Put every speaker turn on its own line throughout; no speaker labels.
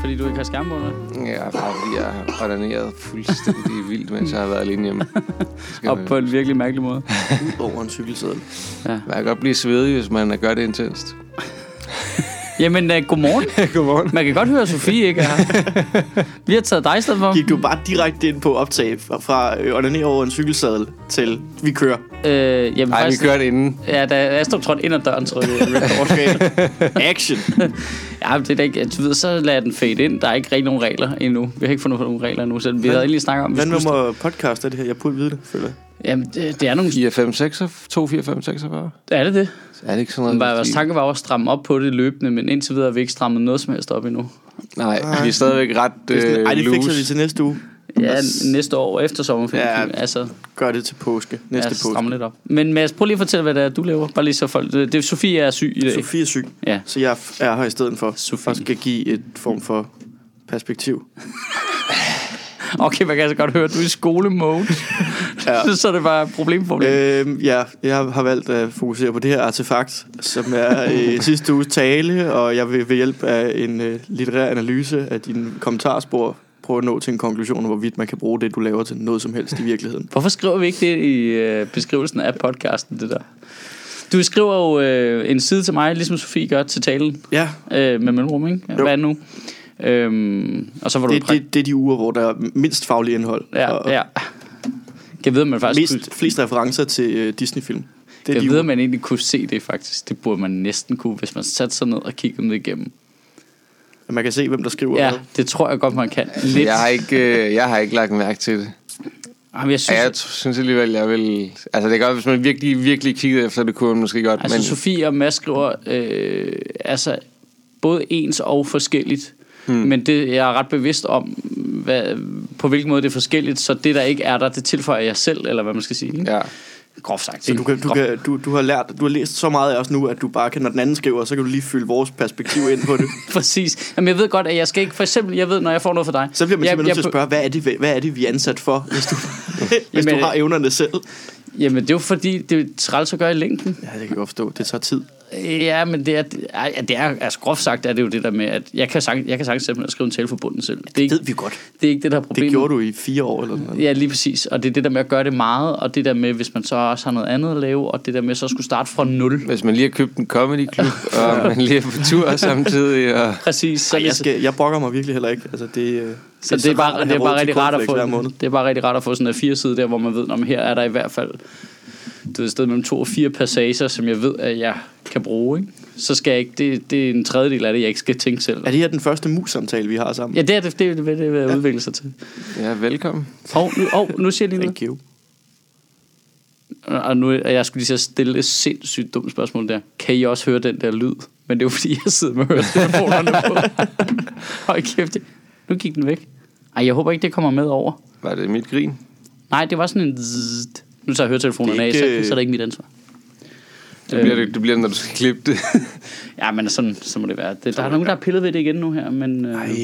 fordi du ikke har skambo med?
Ja, bare fordi jeg har ordineret fuldstændig vildt, mens jeg har været alene hjemme. Skal
Og
man-
på en virkelig mærkelig måde.
Ud over en cykelseddel.
Man kan godt blive svedig, hvis man gør det intenst.
Jamen, uh, godmorgen.
Godmorgen.
Man kan godt høre, at Sofie ikke er her. Vi har taget dig i stedet for.
Gik du bare direkte ind på optag fra, fra øh, onanere over en cykelseddel til vi kører?
Øh, jamen,
Nej, vi
faktisk,
kører det inden.
Ja, da Astrup trådte ind ad døren, trykkede jeg.
Okay. Action.
Ja, men det er da ikke, du ved, så lader den fade ind. Der er ikke rigtig nogen regler endnu. Vi har ikke fundet på nogen regler endnu, så vi havde lige snakket om, at vi
Hvad
skulle...
nummer podcast er det her? Jeg burde vide det, føler jeg.
Jamen, det, det er nogle...
4, 5, 6, 2, 4, 5, 46.
Er det det?
Er det ikke sådan
Var,
noget?
vores tanke var jo at stramme op på det løbende, men indtil videre har vi ikke strammet noget som helst op endnu.
Nej, vi Ah. er stadigvæk ret
Det er sådan,
øh,
Ej, det fikser vi
loose.
til næste uge.
Ja,
Yes.
næste år efter sommerferien.
Ja,
Ja, altså,
Gør det til påske. Næste
ja,
påske.
stramme lidt op. Men Mads, prøv lige at fortælle, hvad det er, du laver. Bare lige så folk... Det, det Sofie er syg i dag.
Sofie er syg,
Ja.
så jeg f- er her i stedet for.
Sofie.
Og skal give et form for perspektiv.
Okay, man kan altså godt høre, at du er i skolemode. ja.
Ja.
så er det bare problem, problem. Øh.
Øhm, ja, jeg har valgt at fokusere på det her artefakt, som er øh, sidste uges tale, og jeg vil ved hjælp af en øh, litterær analyse af dine kommentarspor prøve at nå til en konklusion om, hvorvidt man kan bruge det, du laver til noget som helst i virkeligheden.
Hvorfor skriver vi ikke det i øh, beskrivelsen af podcasten, det der? Du skriver jo øh, en side til mig, ligesom Sofie gør til talen,
Ja,
øh, med mellemrum, ikke?
Jo.
Hvad er det nu? Øhm, og så var du i
det,
prak-
det, det er de uger, hvor der er mindst fagligt indhold, og
Ja, ja. Jeg ved, om man faktisk kunne,
mest, flest referencer til øh, Disney-film. Det er
jeg
de
ved,
uger.
om man egentlig kunne se det faktisk. Det burde man næsten kunne, hvis man satte sig ned og kiggede dem igennem.
Man kan se, hvem der skriver
Ja,
hvad.
det tror jeg godt, man kan. Lidt.
Jeg har, ikke, øh, jeg har ikke lagt mærke til det.
Jamen, jeg
Ja,
synes,
jeg t- synes alligevel, jeg vil... Altså, det er godt, hvis man virkelig, virkelig kiggede efter det, kunne man måske godt.
Altså, men... Sofie og Mads skriver øh, altså, både ens og forskelligt. Hmm. Men det, jeg er ret bevidst om, hvad, på hvilken måde det er forskelligt, så det, der ikke er der, det tilføjer jeg selv, eller hvad man skal sige. Ikke?
ja.
Groft sagt.
Så du, kan, du,
Groft.
kan, du, du har lært, du har læst så meget af os nu, at du bare kan, når den anden skriver, så kan du lige fylde vores perspektiv ind på det.
Præcis. Jamen, jeg ved godt, at jeg skal ikke... For eksempel, jeg ved, når jeg får noget fra dig...
Så bliver man
jeg,
simpelthen nødt til at
jeg-
spørge, hvad er, det, hvad er det, vi er ansat for, hvis du, hvis
Jamen, øh,
du har evnerne selv?
Jamen, det er jo fordi, det er træls at gøre i længden.
Ja, det kan jeg godt forstå. Det tager tid.
Ja, men det er, ej, det er altså groft sagt, er det jo det der med, at jeg kan, sagtens, jeg kan sagtens simpelthen skrive en tale for bunden selv. Det er, ikke,
ved vi godt.
det er ikke det, der er problemet.
Det gjorde du i fire år eller noget.
Ja, lige præcis. Og det er det der med at gøre det meget, og det der med, hvis man så også har noget andet at lave, og det der med så at skulle starte fra nul.
Hvis man lige har købt en comedy club, og man lige er på tur samtidig, og...
Præcis. Så,
Jeg, skal, jeg brokker mig virkelig heller ikke. Altså, det, øh, det
så det, er
rart
bare,
at
det er
have råd
bare
til
rigtig rart at
cornflakes
få,
hver måned.
det er bare rigtig rart at få sådan en fire side der, hvor man ved, om her er der i hvert fald du ved, et sted mellem to og fire passager, som jeg ved, at jeg kan bruge. Ikke? Så skal jeg ikke, det, det er en tredjedel af det, jeg ikke skal tænke selv.
Er det her den første mus-samtale, vi har sammen?
Ja, det er det, det, er det, det vil udvikle sig til.
Ja, velkommen.
Og nu, og, nu siger jeg lige noget.
Thank you.
Og nu, og jeg skulle lige så stille et sindssygt dumt spørgsmål der. Kan I også høre den der lyd? Men det er jo fordi, jeg sidder med høretelefonerne på. Hold kæft. Nu gik den væk. Ej, jeg håber ikke, det kommer med over.
Var det mit grin?
Nej, det var sådan en zzzt. Nu tager jeg høretelefonerne
Det er
af,
ikke,
så, så er det ikke øh, mit ansvar.
Det bliver det, det bliver, det, når du skal klippe det.
Ja, men sådan, så må det være. Det, der er nogen, der har pillet ved det igen nu her, men... Øh,
Ej,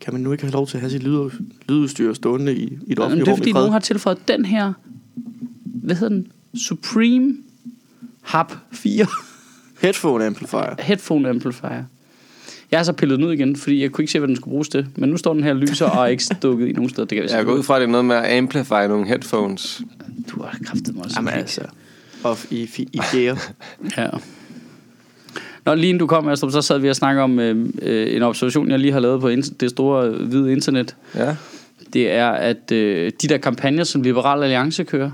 kan man nu ikke have lov til at have sit lyd, lydudstyr stående i, i et
men
offentligt
det er
rum i
fordi,
fred?
nogen har tilføjet den her... Hvad hedder den? Supreme Hub 4.
Headphone amplifier.
headphone amplifier. Jeg har så pillet den ud igen, fordi jeg kunne ikke se, hvad den skulle bruges til. Men nu står den her og lyser og er ikke stukket i nogen steder. Det kan vi
Jeg går ud fra, at det er noget med at amplify nogle headphones.
Du har kraftet mig også.
Jamen altså. Og i, i, i fjerde.
Ja. Nå, lige inden du kom, Astrup, så sad vi og snakkede om øh, øh, en observation, jeg lige har lavet på int- det store øh, hvide internet.
Ja.
Det er, at øh, de der kampagner, som Liberal Alliance kører,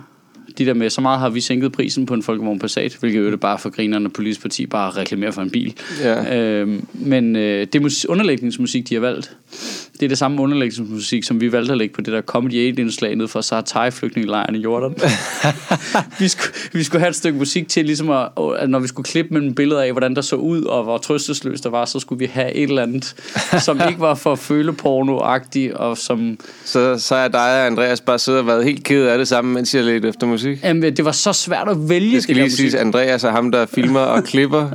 de der med, så meget har vi sænket prisen på en Folkevogn Passat, hvilket jo er det bare for grinerne, politisk parti bare reklamerer for en bil.
Ja.
Øhm, men øh, det mus- underlægningsmusik, de har valgt, det er det samme underlægningsmusik, som vi valgte at lægge på det der Comedy 8-indslag nede fra Sartai-flygtningelejren i Jordan. vi, skulle, vi skulle have et stykke musik til, ligesom at, at når vi skulle klippe mellem billeder af, hvordan der så ud, og hvor trøstesløst der var, så skulle vi have et eller andet, som ikke var for føleporno-agtigt, og som...
Så, så er dig og Andreas bare siddet og været helt ked af det samme, mens jeg ledte efter musik.
Jamen, det var så svært at vælge
Det skal
der
lige siges, Andreas er ham, der filmer og klipper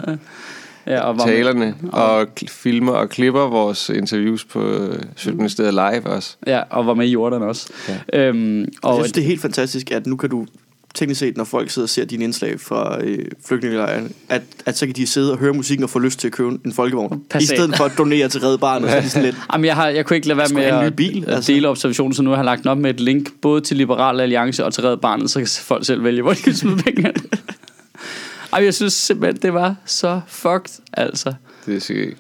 ja, og var med.
talerne, og kl- filmer og klipper vores interviews på øh, Sjøtministeriet Live også.
Ja, og var med i Jordan også. Ja. Øhm, og
Jeg synes, det er helt fantastisk, at nu kan du teknisk set, når folk sidder og ser dine indslag fra øh, flygtningelejren, at, at så kan de sidde og høre musikken og få lyst til at købe en folkevogn.
Passat.
I stedet for at donere til Red Barnet, så er de sådan lidt...
Jamen, jeg, har, jeg kunne ikke lade være
Skulle
med
have en
at
ny bil,
at
altså.
dele observationen, så nu har jeg lagt den op med et link både til Liberal Alliance og til Red Barnet, så kan folk selv vælge, hvor de vil smide pengene. Ej, jeg synes simpelthen, det var så fucked, altså.
Det er sikkert.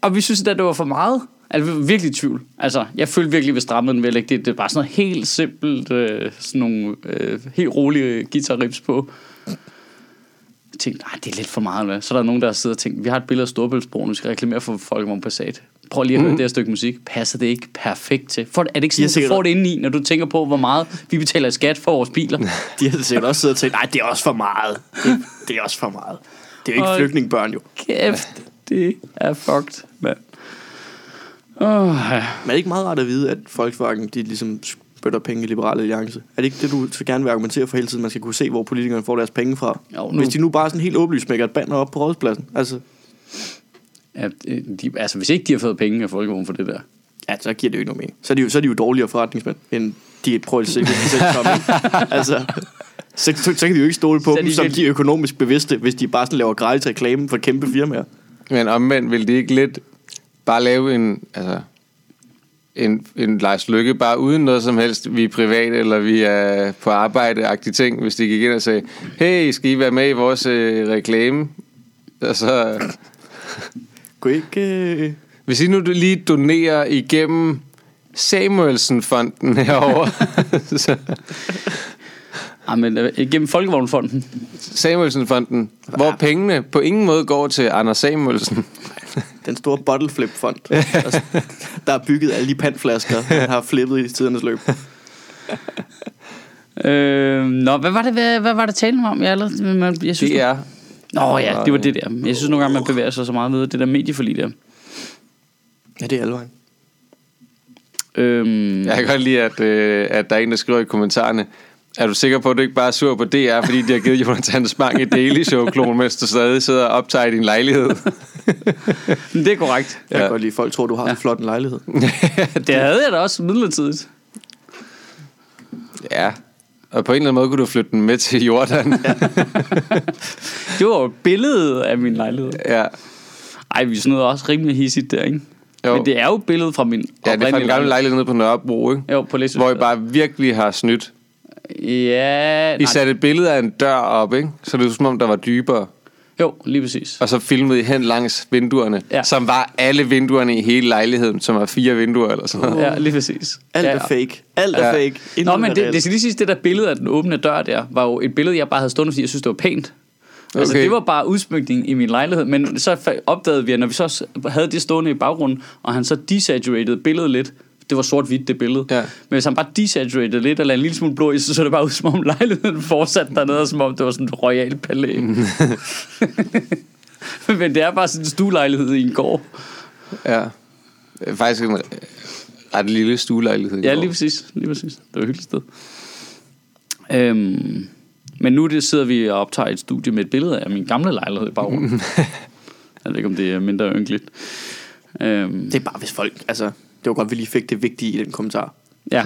Og vi synes, at det var for meget. Altså, vi var virkelig i tvivl. Altså, jeg følte virkelig, at vi strammede den vel. ikke? Det, det var sådan noget helt simpelt, øh, sådan nogle øh, helt rolige guitar-riffs på. Jeg tænkte, nej, det er lidt for meget. Eller? hvad?" Så er der nogen, der har siddet og tænkt, vi har et billede af Storbæltsbroen, vi skal reklamere for Folkevogn Passat. Prøv lige at høre det her stykke musik. Passer det ikke perfekt til? For, er det ikke
De har
sådan, at du får
sikkert-
det indeni, når du tænker på, hvor meget vi betaler i skat for vores biler?
De har sikkert også siddet og tænkt, nej, det er også for meget. Det, det er også for meget. Det er jo ikke
Og-
flygtningebørn jo.
Kæft, det er fucked, mand. Åh, ja.
Men er det ikke meget rart at vide, at Volkswagen, de ligesom spytter penge i Liberale Alliance? Er det ikke det, du så gerne vil argumentere for hele tiden? Man skal kunne se, hvor politikerne får deres penge fra.
Jo, nu-
nu. Hvis de nu bare sådan helt åbenlyst smækker et banner op på rådspladsen. Altså,
Ja, de, altså hvis ikke de har fået penge af Folkevogn for det der.
ja, så giver det jo ikke nogen mening. Så er de jo, så er de jo dårligere forretningsmænd, end de prøver at se, hvis de selv kommer. ikke? altså, så, så, så, kan de jo ikke stole på
Så er
dem,
de
som
virkelig-
de økonomisk bevidste, hvis de bare sådan laver gratis reklame for kæmpe firmaer.
Men omvendt vil de ikke lidt bare lave en, altså, en, en Lars Lykke, bare uden noget som helst, vi er private eller vi er på arbejde-agtige ting, hvis de gik ind og sagde, hey, skal I være med i vores øh, reklame? Og så,
Kunne I ikke... Øh...
hvis I nu lige donerer igennem Samuelsen-fonden herovre, så,
Ej, men øh, gennem Folkevognfonden.
Samuelsen-fonden, hvor pengene på ingen måde går til Anders Samuelsen.
Den store bottle flip fond, altså, der er bygget alle de pandflasker, han har flippet i tidernes løb.
Øh, nå, hvad var det, hvad, hvad var det talen om? Jeg, allerede- man- jeg synes,
Det er
Nå ja, det var det der. Jeg synes nogle gange, man bevæger sig så meget ved det der medieforlig der.
Ja, det er alvejen.
Øhm,
Jeg kan godt lide, at, øh, at der er en, der skriver i kommentarerne, er du sikker på, at du ikke bare er sur på DR, fordi de har givet Jonathan Spang et daily show klon, mens du stadig sidder og optager i din lejlighed?
men det er korrekt.
Jeg kan
Ja.
godt lide, at folk tror, du har ja. en flot en lejlighed.
Det havde jeg da også midlertidigt.
Ja. Og på en eller anden måde kunne du flytte den med til Jordan.
Det var jo et billede af min lejlighed.
Ja.
Ej, vi snød også rimelig hissigt der, ikke? Jo.
Jo.
Men det er jo et billede fra min
ja, det er fra den gamle lejlighed nede på Nørrebro, ikke?
Jo, på Læsø.
Hvor I bare virkelig har snydt.
Ja,
I
nej,
satte et billede af en dør op, ikke? Så det var som om, der var dybere.
jo, lige præcis.
Og så filmede I hen langs vinduerne,
Ja.
ja. som var alle vinduerne i hele lejligheden, som var fire vinduer eller sådan noget.
Ja, lige præcis.
Alt
ja,
er fake. Alt er
Ja.
fake. Intet
Nå, men
er
det,
reelt.
det skal lige sige, det der billede af den åbne dør der, var jo et billede, jeg bare havde stående, fordi jeg synes, det var pænt. Altså,
Okay.
det var bare udsmykning i min lejlighed, men så fa- opdagede vi, at når vi så s- havde det stående i baggrunden, og han så desaturated billedet lidt, det var sort-hvidt, det billede.
Ja.
Men hvis han bare desaturated lidt, eller en lille smule blå i, så så det bare ud, som om lejligheden fortsatte dernede, og som om det var sådan et royal palæ. men det er bare sådan en stuelejlighed i en gård. Uh.
Ja. Øh, Faktisk en øh, ret lille stuelejlighed. i
Ja,
går.
lige præcis. Lige præcis. Det var et hyggeligt sted. Øhm, men nu det sidder vi og optager et studie med et billede af min gamle lejlighed i baggrunden. jeg ved ikke, om det er mindre ynkeligt. Øhm,
det er bare, hvis folk... Altså, det var godt, vi lige fik det vigtige i den kommentar.
ja. ja,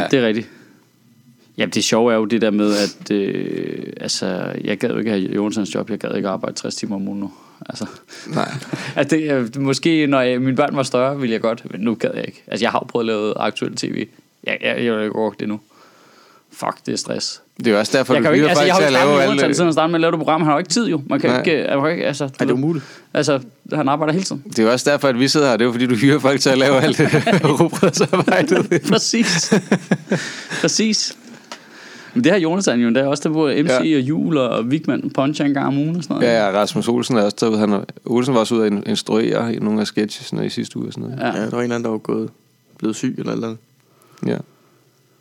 Ja.
det er rigtigt. Ja, det sjove er jo det der med, at øh, altså, jeg gad jo ikke have Jonsens job. Jeg gad ikke arbejde 60 timer om ugen nu. Altså,
Nej.
at det, øh, måske når jeg, mine børn var større, ville jeg godt, men nu gad jeg ikke. Altså, jeg har jo prøvet at lave aktuel tv. Jeg, jeg, jeg vil ikke orke det nu. Fuck, det er stress.
Det er jo også derfor,
jeg
du
kan jo ikke,
hyrer
altså, jeg
folk
har
til
jo
at
ikke
lave
startet med
alle...
Jonathan siden at starte med at lave det program. Han har jo ikke tid, jo. Man kan jo
Nej.
ikke, jeg kan ikke, altså, du
Ej, det er
ved.
umuligt.
Altså, han arbejder hele tiden.
Det er jo også derfor, at vi sidder her. Det er jo fordi, du hyrer folk til at lave alt det rugbrødsarbejdet.
Præcis. Præcis. Men det har Jonathan jo endda også, der bor MC ja.
Ja.
og Jul og Vigman Punch en gang om ugen og sådan noget.
ja, ja, Rasmus Olsen er også derude. Han er, Olsen var også ude at in- instruere i nogle af sketchesne i sidste uge og sådan noget.
Ja.
Ja, der var en eller anden, der var gået blevet syg eller et eller andet.
Ja.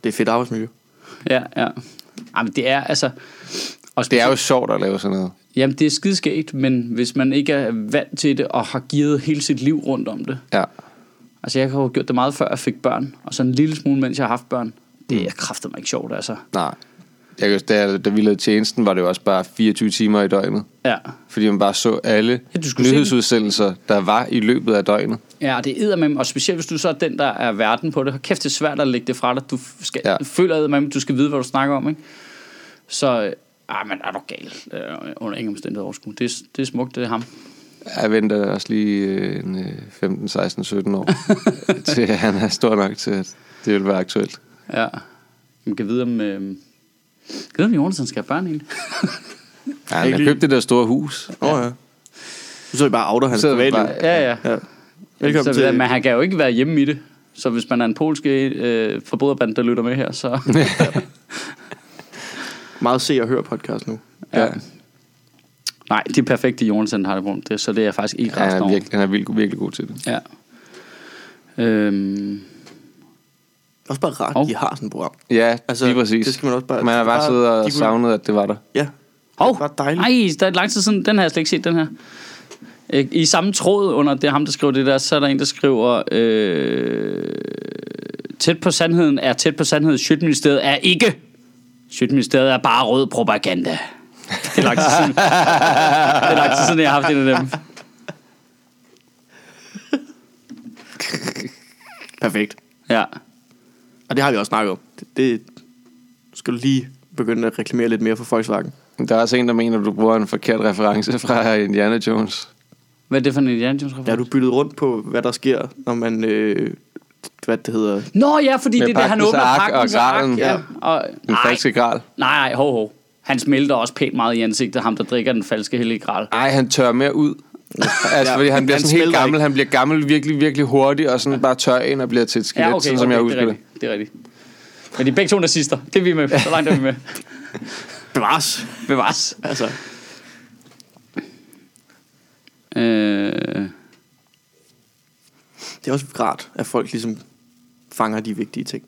Det er fedt arbejdsmiljø.
ja. ja. Jamen, det er altså... Og
Det er jo sjovt at lave sådan noget.
Jamen, det er skideskægt, men hvis man ikke er vant til det og har givet hele sit liv rundt om det.
Ja.
Altså, jeg har jo gjort det meget før, jeg fik børn, og så en lille smule, mens jeg har haft børn. Det er kraftet mig ikke sjovt, altså.
Nej. jeg kan huske, da, jeg- da vi lavede tjenesten, var det jo også bare 24 timer i døgnet.
Ja.
Fordi man bare så alle
Ja, du skulle se
nyhedsudsendelser, der var i løbet af døgnet.
Ja, det er eddermem, og specielt hvis du så er den, der er verden på det. Hold Kæft, det er svært at lægge det fra dig. Du f- skal, ja.
Ja.
føler eddermem, du skal vide, hvad du snakker om, ikke? Så, øh, ah, men er du gal øh, under ingen omstændighed overskue. Det, er- det er smukt, det er ham.
Jeg venter også lige øh, en, øh, 15, 16, 17 år, til han er stor nok til, at det vil være aktuelt.
Ja. Man kan vide, om... Øh, kan vide, om Jonasen skal have børn egentlig?
Ja, han har
Ikke lige-
købt det der store hus.
Åh oh, ja. Så er I bare outer hans
Så er det
privatliv.
bare-
Ja, ja.
Ja. Velkommen
så,
til...
til... Men han kan jo ikke være hjemme i det. Så hvis man er en polsk øh, forbryderband, der lytter med her, så...
Meget se og hør podcast nu.
ja. Nej, det er perfekt, det Jonasen har det rundt. Det, så det er jeg faktisk ikke
Han
ret
er,
over.
virkelig, han er virkelig, virkelig god til det.
Ja. Øhm,
Det er også bare rart,
Hov.
oh. de har sådan et program.
Ja,
Altså,
altså, lige præcis.
det skal man også bare-
Man har bare
bare-
siddet
de
og
kunne-
savnet, at det var der.
Ja.
Hov,
Det er bare dejligt.
nej, der er lang tid siden. Den har jeg slet ikke set, den her. Øh, I samme tråd under det er ham, der skriver det der, så er der en, der skriver... Øh, tæt på sandheden er tæt på sandheden. Sjøtministeriet er ikke. Sjøtministeriet er bare rød propaganda. Det er lang tid siden. det er lang tid siden, jeg har haft en af dem.
Perfekt.
Ja.
Og det har vi også snakket om. Det, det nu skal du lige begynde at reklamere lidt mere for Volkswagen.
Der er også en, der mener, at du bruger en forkert reference fra Indiana Jones.
Hvad er det for en Indiana Jones
Der er du byttet rundt på, hvad der sker, når man... Øh, hvad det hedder...
Nå ja, fordi
Med
det er det, han
Pagtens
åbner
Ark og
pakken
Gralen.
Ja. Og,
Den
nej,
falske gral.
nej, nej, hov, hov. Han smelter også pænt meget i ansigtet, ham der drikker den falske hellige gral.
Ej, han tør mere ud. altså, fordi han bliver
Han
sådan helt
smelter
gammel.
ikke.
Han bliver gammel virkelig, virkelig hurtigt, og sådan bare tør ind og bliver til et skelet,
Ja, okay,
sådan som jeg
okay, det
husker
er
det.
rigtigt. Det er rigtigt. Men de er begge to nazister. Det er vi med. Så langt er vi med.
Bevares!
Bevares.
Altså,
Øh,
det er også rart, at folk ligesom fanger de vigtige ting.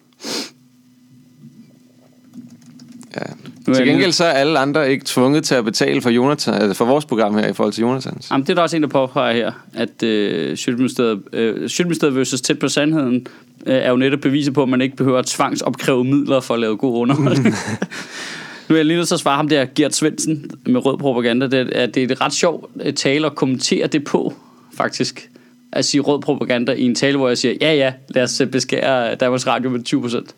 nu er
Til
jeg
gengæld så er alle andre ikke tvunget til at betale for, Jonathan, altså for vores program her i forhold til Jonathans.
Jamen, det er der også en, der påpeger her, at øh, Sjøtministeriet øh, Sjøtministeriet versus tæt på sandheden øh, er jo netop beviser på, at man ikke behøver at tvangsopkræve midler for at lave god underholdning. nu er jeg lige nødt til at svare ham der, Gert Svendsen, med rød propaganda. Det er, at det er et ret sjovt øh, tale at kommentere det på, faktisk. At sige rød propaganda i en tale, hvor jeg siger, ja ja, lad os øh, beskære Danmarks Radio med 20 procent.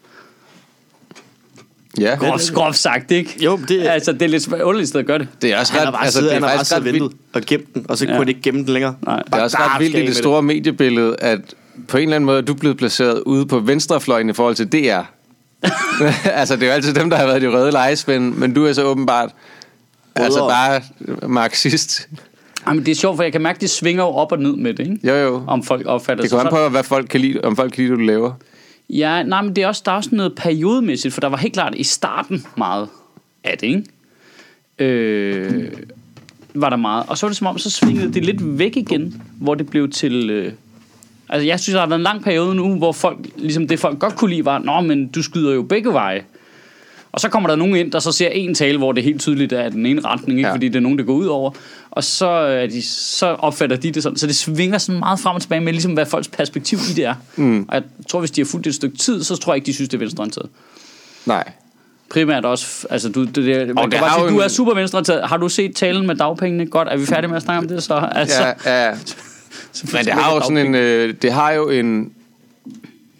Ja,
Groft, groft sagt, ikke?
Jo, men det-
Altså, det er lidt svært- underligt sted at gøre det.
det er også
Han har
ret,
bare altså, siddet, han
det er
har bare
faktisk ret
siddet og
vildt.
ventet og gemt den, og så
Ja.
kunne han ikke gemme den længere.
Nej.
Det er også
Bare
ret vildt i
skal af
det
med
store mediebillede, at på en eller anden måde, du er blevet placeret ude på venstrefløjen i forhold til DR. altså, det er jo altid dem, der har været i de røde legespænd, men du er så åbenbart altså
Rødere.
bare marxist.
Jamen, det er sjovt, for jeg kan mærke, det svinger jo op og ned med det, ikke?
Jo, jo.
Om folk opfatter
Det
sig
kommer an
sådan.
på, hvad folk kan lide, om folk kan lide, hvad du laver.
Ja, nej, men det er også, der er også noget periodemæssigt, for der var helt klart i starten meget af det, ikke? Øh, var der meget. Og så var det som om, så svingede det lidt væk igen, hvor det blev til... Øh, altså, jeg synes, der har været en lang periode nu, hvor folk, ligesom det folk godt kunne lide, var, nå, men du skyder jo begge veje. Og så kommer der nogen ind, der så ser en tale, hvor det helt tydeligt er den ene retning, ikke? Ja.
Ja.
fordi det er nogen, der går ud over. Og så, er de, så opfatter de det sådan. Så det svinger sådan meget frem og tilbage med, ligesom, hvad folks perspektiv i det er. Mm. Og jeg tror, hvis de har fulgt det et stykke tid, så tror jeg ikke, de synes, det er venstreorienteret.
Nej.
Primært også, altså du, det, det, man
det
kan bare
har
sige,
jo
du
en-
er super venstreorienteret. Har du set talen med dagpengene? Godt, er vi færdige med at snakke om det så? Altså, ja.
Ja, ja. Men det har jo sådan en, øh, det har jo en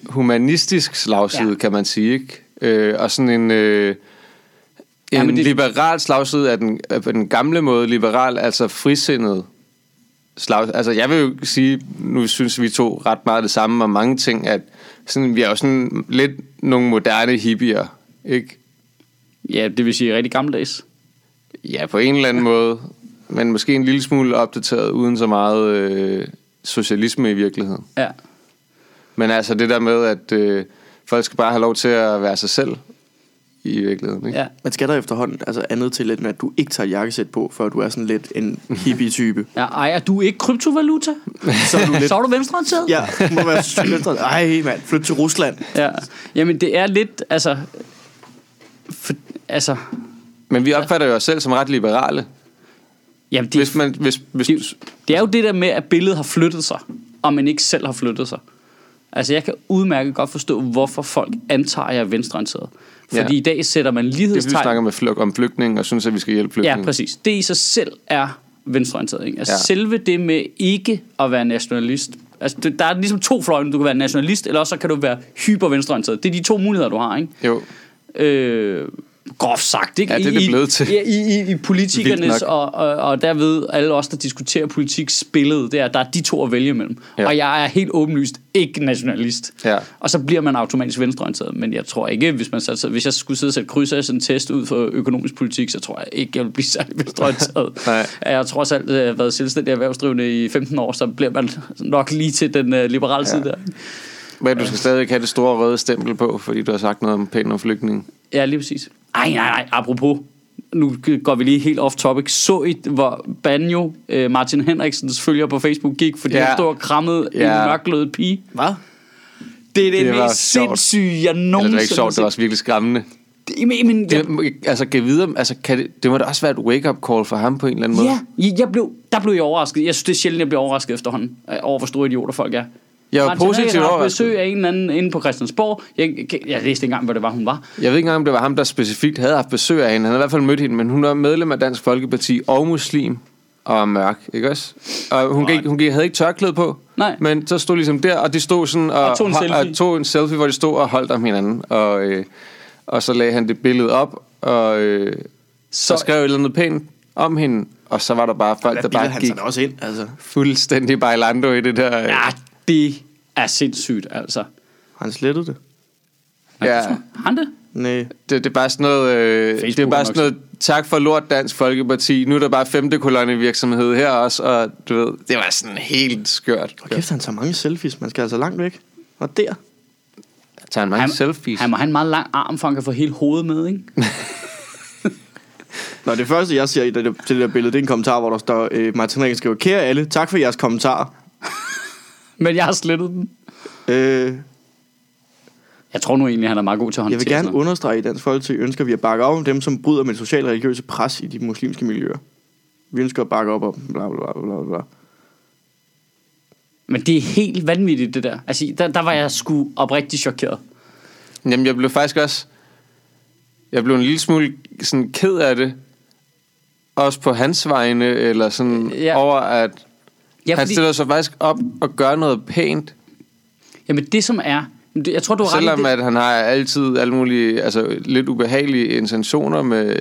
humanistisk slagside,
Ja.
ja. kan man sige, ikke? Øh, og sådan en, øh, en
Jamen,
det...
det-
liberal slagside af den, af den gamle måde, liberal, altså frisindet slag. Altså jeg vil jo sige, nu synes vi to ret meget det samme om mange ting, at sådan, vi er jo sådan lidt nogle moderne hippier, ikke?
Ja, det vil sige rigtig gammeldags.
Ja, på en eller anden måde, men måske en lille smule opdateret, uden så meget øh, socialisme i virkeligheden.
Ja.
Men altså det der med, at øh, folk skal bare have lov til at være sig selv i virkeligheden. Ikke?
ja.
Man skal der efterhånden altså andet til, end at du ikke tager et jakkesæt på, før du er sådan lidt en hippie-type.
ja. Ej, er du ikke kryptovaluta?
Så er du lidt...
så er du venstreorienteret?
Ja, du må være sygt venstreorienteret. Ej, mand, flyt til Rusland.
ja. Jamen, det er lidt, altså... For, altså...
Men vi opfatter jo os selv som ret liberale.
Jamen, det,
Hvis man, hvis, hvis,
det, det er jo det der med, at billedet har flyttet sig, og man ikke selv har flyttet sig. Altså, jeg kan udmærket godt forstå, hvorfor folk antager, at jeg er venstreorienteret. Fordi
Ja.
ja. i dag sætter man
Det er, fordi vi
lighedstegn
snakker med flyg, om flygtninge, og synes, at vi skal hjælpe flygtninge.
Ja, præcis. Det i sig selv er venstreorienteret. Ikke? Altså
Ja.
ja. selve det med ikke at være nationalist. Altså, det, der er ligesom to fløje, du kan være nationalist, eller også så kan du være hyper venstreorienteret. Det er de to muligheder, du har, ikke?
Jo,
Øh, groft sagt, ikke?
Ja, det er
I-
det
i-
blevet til.
Ja, i, i, i
Vildt
politikernes
nok.
og, og, og derved alle os, der diskuterer politik, spillet, det er, der er de to at vælge imellem.
Ja.
Ja. Og jeg er helt åbenlyst ikke nationalist.
Ja.
Og så bliver man automatisk venstreorienteret. Men jeg tror ikke, hvis, man satte, hvis jeg skulle sidde og sætte krydser i sådan en test ud for økonomisk politik, så tror jeg ikke, jeg vil blive særlig venstreorienteret.
Nej.
Jeg tror selv, at jeg har været selvstændig erhvervsdrivende i 15 år, så bliver man nok lige til den uh, liberale ja. side der.
men du skal stadig have det store røde stempel på, fordi du har sagt noget om pænt om flygtninge.
Ja, lige præcis. Ej, nej, nej, apropos. Nu går vi lige helt off topic. Så I, hvor Banjo, øh, Martin Henriksens følger på Facebook, gik, fordi
Ja.
ja. han stod og krammede ja.
Ja.
en mørklødet pige?
Hvad?
Det er det,
Det
det
var
mest
sjovt.
sindssyge, jeg
Eller det
nogensinde
var ikke sjovt, det var også virkelig skræmmende.
Det, men, men, jeg,
Det, altså, kan videre, altså, kan det, det må da også være et wake-up call for ham på en eller anden måde.
ja, jeg, jeg blev, der blev jeg overrasket. Jeg synes, det er sjældent, jeg bliver overrasket efterhånden øh, over, hvor store idioter folk er.
Jeg var
Martin
positivt
Henriksen har haft
overrasket.
besøg af en eller anden inde på Christiansborg. Jeg, jeg, jeg læste ikke engang, hvor det var, hun var.
Jeg ved ikke engang, om det var ham, der specifikt havde haft besøg af hende. Han havde i hvert fald mødt hende, men hun var medlem af Dansk Folkeparti og muslim og var mørk, ikke også? Og hun, gik, hun gik, havde ikke tørklæde på,
Nej.
men så stod ligesom der, og de stod sådan og,
Og tog en
ho-
selfie.
og tog en selfie, hvor de stod og holdt om hinanden. Og, øh, og så lagde han det billede op, og øh, så, så
Så-
skrev et eller andet pænt om hende, og så var der bare folk,
Der
der
bilder
bare
han
gik
sig da også ind, altså.
fuldstændig bailando i det der. øh,
Ja, Ah, det er sindssygt, altså.
Har han slettet det?
ja.
Har han det?
Nej.
Det, det er bare sådan noget, øh, det er
Facebook
bare
er
sådan noget, tak for lort Dansk Folkeparti, nu er der bare femte kolonne virksomhed her også, og du ved, det var sådan helt skørt.
Og kæft, han tager mange selfies. Man skal altså langt væk. Og der.
Tager han mange
han,
selfies?
Han må have en meget lang arm, for han kan få hele hovedet med, ikke?
Nå, det første, jeg siger i det, til det der billede, det er en kommentar, hvor der står, øh, Martin Henriksen skriver, kære alle, tak for jeres kommentar.
Men jeg har slettet den.
Øh,
Jeg tror nu egentlig, han er meget god til at håndtere
jeg vil gerne
sådan noget.
understrege, at i Dansk Folkeparti ønsker vi at bakke op om dem, som bryder med det sociale og religiøse pres i de muslimske miljøer. Vi ønsker at bakke op om bla bla bla bla bla.
Men det er helt vanvittigt, det der. Altså, der, der var jeg sgu oprigtig chokeret.
Jamen, jeg blev faktisk også, jeg blev en lille smule sådan ked af det, også på hans vegne, eller sådan ja.
Ja.
over, at ja,
Ja,
han
fordi-
stiller sig faktisk op og gør noget pænt,
Jamen, det som er... det- Jeg tror, du har ret i
Selvom
det.
at han har altid alle mulige altså, lidt ubehagelige intentioner med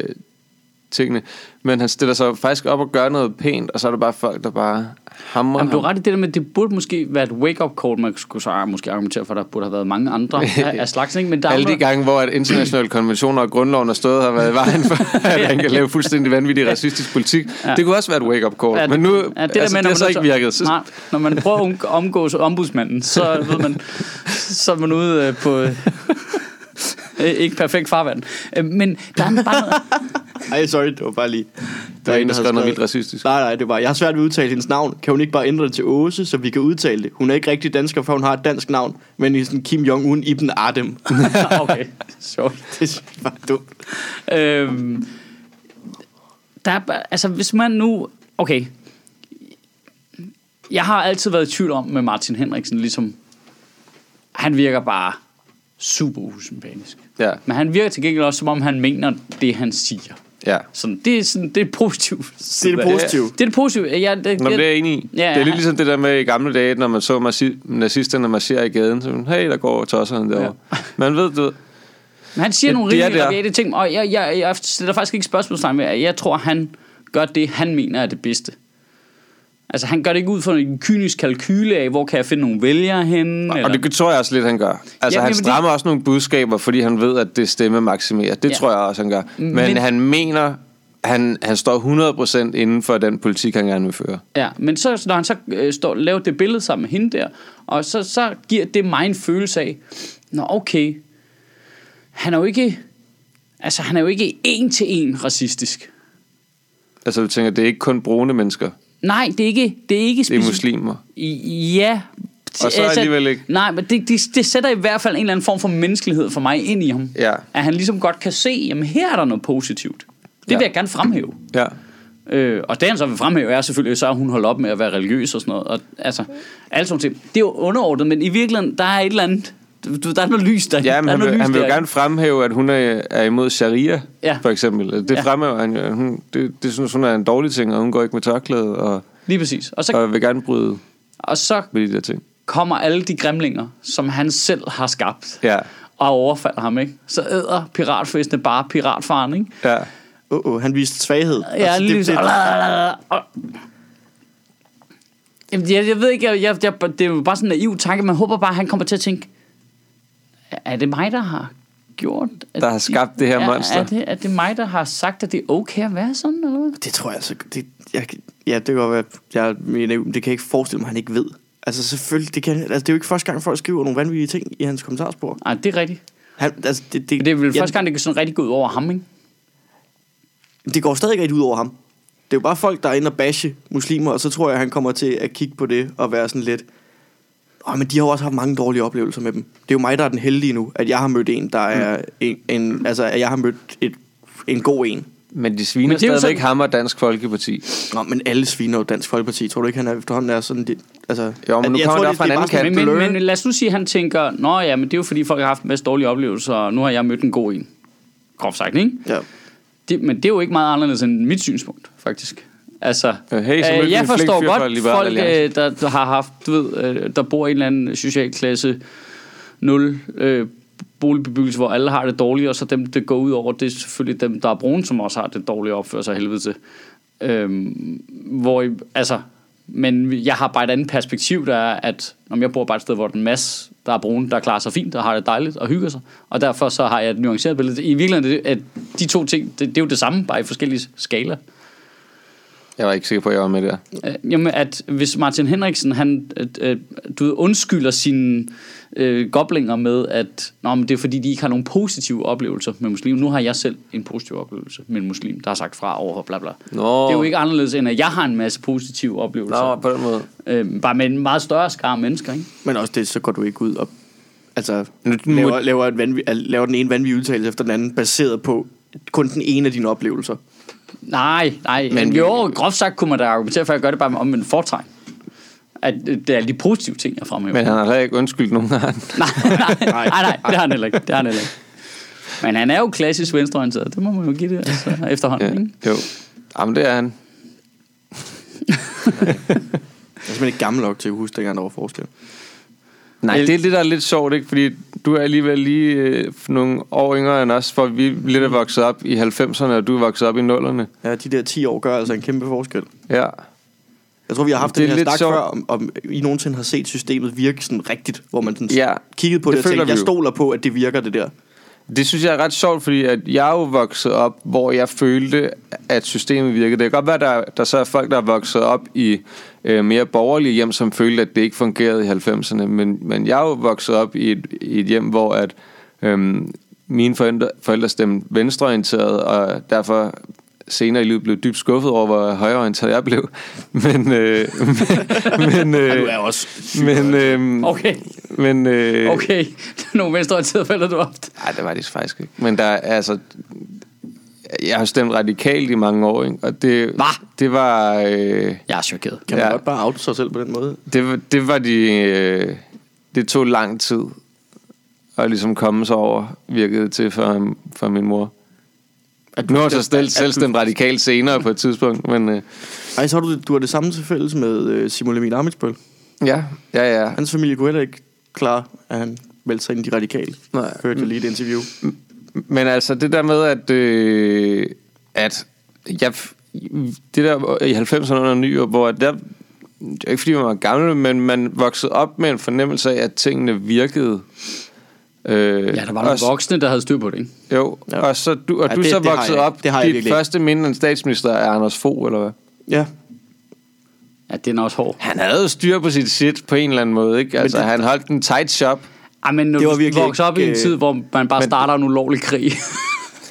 tingene, men han stiller sig faktisk op og gør noget pænt, og så er der bare folk, der bare hamrer
Jamen, du
ham.
har ret i det der med, at det burde måske være et wake-up call, man skulle så ah, måske argumentere for, at der burde have været mange andre af, af slags, ikke? Men der
Alle
var,
de gange, hvor at internationale konventioner og grundloven har stået og har været i vejen for, at han kan lave fuldstændig vanvittig racistisk politik. Ja. Det kunne også være et wake-up call, ja,
det-
men nu
ja, det, der
altså,
med,
det
når
har
man
så
er
ikke
nødt til-
virket. Så,
Nej, når man prøver at undg- omgås ombudsmanden, så ved man, så er man ude øh, på... øh, ikke perfekt farvand. Øh, Men der er bare noget,
Ej, sorry, det var bare lige...
der er en, der
har
skrev noget
skrevet-
vildt racistisk.
Nej, nej, det var, jeg har svært ved at udtale hendes navn. Kan hun ikke bare ændre det til Åse, så vi kan udtale det? Hun er ikke rigtig dansker, for hun har et dansk navn, men i sådan Kim Jong-un Ibn Adem.
okay, sjovt.
det var dumt.
Øhm, der er, bare- altså, hvis man nu... Okay. Jeg har altid været i tvivl om med Martin Henriksen, ligesom... Han virker bare super usympatisk.
Ja,
Men han virker til gengæld også, som om han mener det, han siger.
ja.
Sådan, det er sådan, det er positivt.
Det er det positive.
Det er det positive. Jeg, det,
Nå, men det er
jeg,
jeg enig i.
Ja,
Ja, det er
ja.
lidt ligesom det der med i gamle dage, når man så marci- nazisterne marchere i gaden. Så man, hey, der går tosserne derovre. Ja. Man ved, du ved,
men han siger
Ja,
nogle
det er
rigtig
det.
rabiate ting, og jeg, jeg, jeg stiller faktisk ikke spørgsmålstegn ved, at jeg tror, han gør det, han mener er det bedste. Altså, han gør det ikke ud fra en kynisk kalkyle af, hvor kan jeg finde nogle vælgere henne?
Og det tror jeg også lidt, han gør. Altså,
Jamen,
han
jamen,
strammer også nogle budskaber, fordi han ved, at det stemme maksimerer. Det ja.
Ja.
tror jeg også, han gør. Men, Men
Men-
han mener, han, han står 100% inden for den politik, han gerne vil føre.
Ja, men så, når han så øh, står, laver det billede sammen med hende der, og så, så giver det mig en følelse af, nå okay, han er jo ikke, altså han er jo ikke en til en racistisk.
Altså, du tænker, det er ikke kun brune mennesker.
Nej, det er ikke, det er ikke
Det er
speci-
muslimer.
I- Ja. Altså,
Og så alligevel ikke.
Nej, men det, det, det sætter i hvert fald en eller anden form for menneskelighed for mig ind i ham.
Ja.
At han ligesom godt kan se, jamen her er der noget positivt. Det
Ja.
ja. vil jeg gerne fremhæve.
Ja.
Øh, og det han så vil fremhæve er selvfølgelig, så er hun holdt op med at være religiøs og sådan noget. Og, altså, alle sådan nogle ting. Det er jo underordnet, men i virkeligheden, der er et eller andet Du, du- der er noget lys der.
Ja, men
der er
han
noget
vil,
lys
han vil jo
derinde.
gerne fremhæve, at hun er, er imod sharia,
Ja.
ja. for eksempel. Altså, Det
Ja.
ja. fremhæver han jo. Hun, det, det synes hun er en dårlig ting, og hun går ikke med tørklæde, og,
Lige præcis. Og så,
og vil gerne bryde
og så
med de der ting.
kommer alle de grimlinger, som han selv har skabt,
Ja,
og overfalder ham, ikke? Så æder piratfestene bare piratfaren, ikke?
ja.
Uh -oh, han viste svaghed.
Ja, altså, lige
det, det,
Jamen, jeg, jeg ved ikke, jeg, jeg, jeg, det er jo bare sådan en naiv tanke. Man håber bare, at han kommer til at tænke, er det mig, der har gjort... At
Der har skabt det her
er,
monster."
Er det, er det mig, der har sagt, at det er okay at være sådan, eller hvad?
det tror jeg altså... Det, jeg, ja, det kan godt være... Jeg, mener, det kan jeg ikke forestille mig, han ikke ved. Altså selvfølgelig, det, kan, altså, det er jo ikke første gang, folk skriver nogle vanvittige ting i hans kommentarspor.
Nej, det er rigtigt.
Han, altså, det,
Men det er vel
ja,
første gang, det kan sådan rigtig gå ud over ham, ikke?
det går stadig ikke rigtig ud over ham. Det er jo bare folk, der er inde og bashe muslimer, og så tror jeg, han kommer til at kigge på det og være sådan lidt... Åh, men de har jo også haft mange dårlige oplevelser med dem. Det er jo mig, der er den heldige nu, at jeg har mødt en, der
Mm.
er en, en altså, at jeg har mødt et, en god en.
Men de sviner
Men
Men
det er jo
stadigvæk
sådan-
ham og Dansk Folkeparti.
Nå, men alle sviner jo Dansk Folkeparti. Tror du ikke, han er efterhånden er sådan... Det, altså,
Jo, men nu
jeg
kommer
tror,
der
det-
fra
det er
en
bare
anden
sådan-
kant.
Men,
Blur.
men, men lad os nu sige, at han tænker, nå ja, men det er jo fordi, folk har haft en masse dårlige oplevelser, og nu har jeg mødt en god en. Groft sagt, ikke?
Ja.
Det, men det er jo ikke meget anderledes end mit synspunkt, faktisk. Altså,
Øh, hey, så mødte vi
jeg
en flink
forstår
fyr fra
godt
Liberal
folk, øh,
Alliance.
der, der har haft, du ved, øh, der bor i en eller anden social klasse 0 øh, boligbebyggelse, hvor alle har det dårligt, og så dem, det går ud over, det er selvfølgelig dem, der er brune, som også har det dårlige opførsel sig af helvede til. Øhm, hvor, I- altså, men jeg har bare et andet perspektiv, der er, at om jeg bor bare et sted, hvor der er en masse, der er brune, der klarer sig fint, der har det dejligt og hygger sig, og derfor så har jeg et nuanceret billede. I virkeligheden er det, at de to ting, det, det er jo det samme, bare i forskellige skala.
Jeg var ikke sikker på, at jeg var med der.
Øh, Jamen, at hvis Martin Henriksen, han, øh, øh, du ved, undskylder sine øh, goblinger med, at Nå, men det er fordi, de ikke har nogen positive oplevelser med muslimer. Nu har jeg selv en positiv oplevelse med en muslim, der har sagt fra over for bla bla.
Nå.
Det er jo ikke anderledes, end at jeg har en masse positive oplevelser.
Nå, på den måde.
Øh, bare med en meget større skar af mennesker, ikke?
Men også det, så går du ikke ud og altså,
Nu- nu må-
laver, laver, et vanvid, laver den ene vanvittige udtalelse efter den anden, baseret på kun den ene af dine oplevelser.
Nej, nej. Men, jo, groft sagt kunne man da argumentere for, at jeg gør det bare om en fortegn. At øh, det er alle de positive ting, jeg fremhæver.
Men han har heller ikke undskyldt nogen af andre.
nej, nej, nej, nej, det har han heller ikke. Det har han heller ikke. Men han er jo klassisk venstreorienteret, det må man jo give det altså, efterhånden. Ikke?
Ja. Jo. Jamen, det er han.
Jeg er simpelthen ikke gammel nok til at huske dengang, der var forskel.
Nej, det er det, der er lidt sjovt, ikke? Fordi du er alligevel lige øh, nogle år yngre end os, for vi lidt er vokset op i 90'erne, og du er vokset op i 0'erne.
Ja, de der 10 år gør altså en kæmpe forskel.
Ja.
Jeg tror, vi har haft
Det er
den her
lidt
snak
sjovt.
før, om, om I nogensinde har set systemet virke sådan rigtigt, hvor man sådan
Ja,
kiggede på det,
det
det og
føler
tænkte,
vi
jeg
jo.
stoler på, at det virker, det der.
Det synes jeg er ret sjovt, fordi at jeg er jo vokset op, hvor jeg følte, at systemet virkede. Det kan godt være, der, der så er folk, der er vokset op i øh, mere borgerlige hjem, som følte, at det ikke fungerede i 90'erne. Men, men jeg er jo vokset op i et, i et hjem, hvor at, øh, mine forældre, forældre stemte venstreorienteret, og derfor senere i livet blev dybt skuffet over, hvor højreorienteret jeg blev. Men, øh, men, men,
Du
øh,
er også...
men, øh,
Okay,
men øh,
okay. Det er nogle venstreorienterede forældre, du har haft.
Nej, det var det faktisk ikke. Men der er altså... Jeg har stemt radikalt i mange år, ikke? Og det,
Hva?
det var... Øh,
Jeg er chokeret.
Kan man
Ja.
godt bare oute sig selv på den måde?
det, var- det var de... Øh, det tog lang tid at ligesom komme sig over, virkede det til for, for min mor. nu har jeg så selv, selv stemt radikalt senere på et tidspunkt, men øh,
Ej, så har du, du har det samme til fælles med øh, Simon Emil Amitsbøl.
ja, ja, ja.
Hans familie kunne heller ikke klare, at han meldte sig ind i de radikale.
Nej. Mm.
Hørte jeg lige et interview.
Men altså det der med, at, øh, at jeg, det der i 90'erne under nyår, hvor at der, det er ikke fordi man var gammel, men man voksede op med en fornemmelse af, at tingene virkede. Øh,
Ja, der var nogle voksne, der havde styr på det, ikke?
Jo,
Ja.
ja. og, så, du, og
Ja,
ja, du er
det-
så
det har
vokset
jeg-
op.
det har jeg
Dit
virkelig ikke.
første minde om statsminister er Anders Fogh, eller hvad?
Ja,
Ja, det er også hård.
Han havde jo styr på sit shit på en eller anden måde, ikke? Altså, det, han holdt en tight shop.
Ej, men når
Det var
du
virkelig
vokser op i
ikke,
en
øh,
tid, hvor man bare starter en ulovlig krig.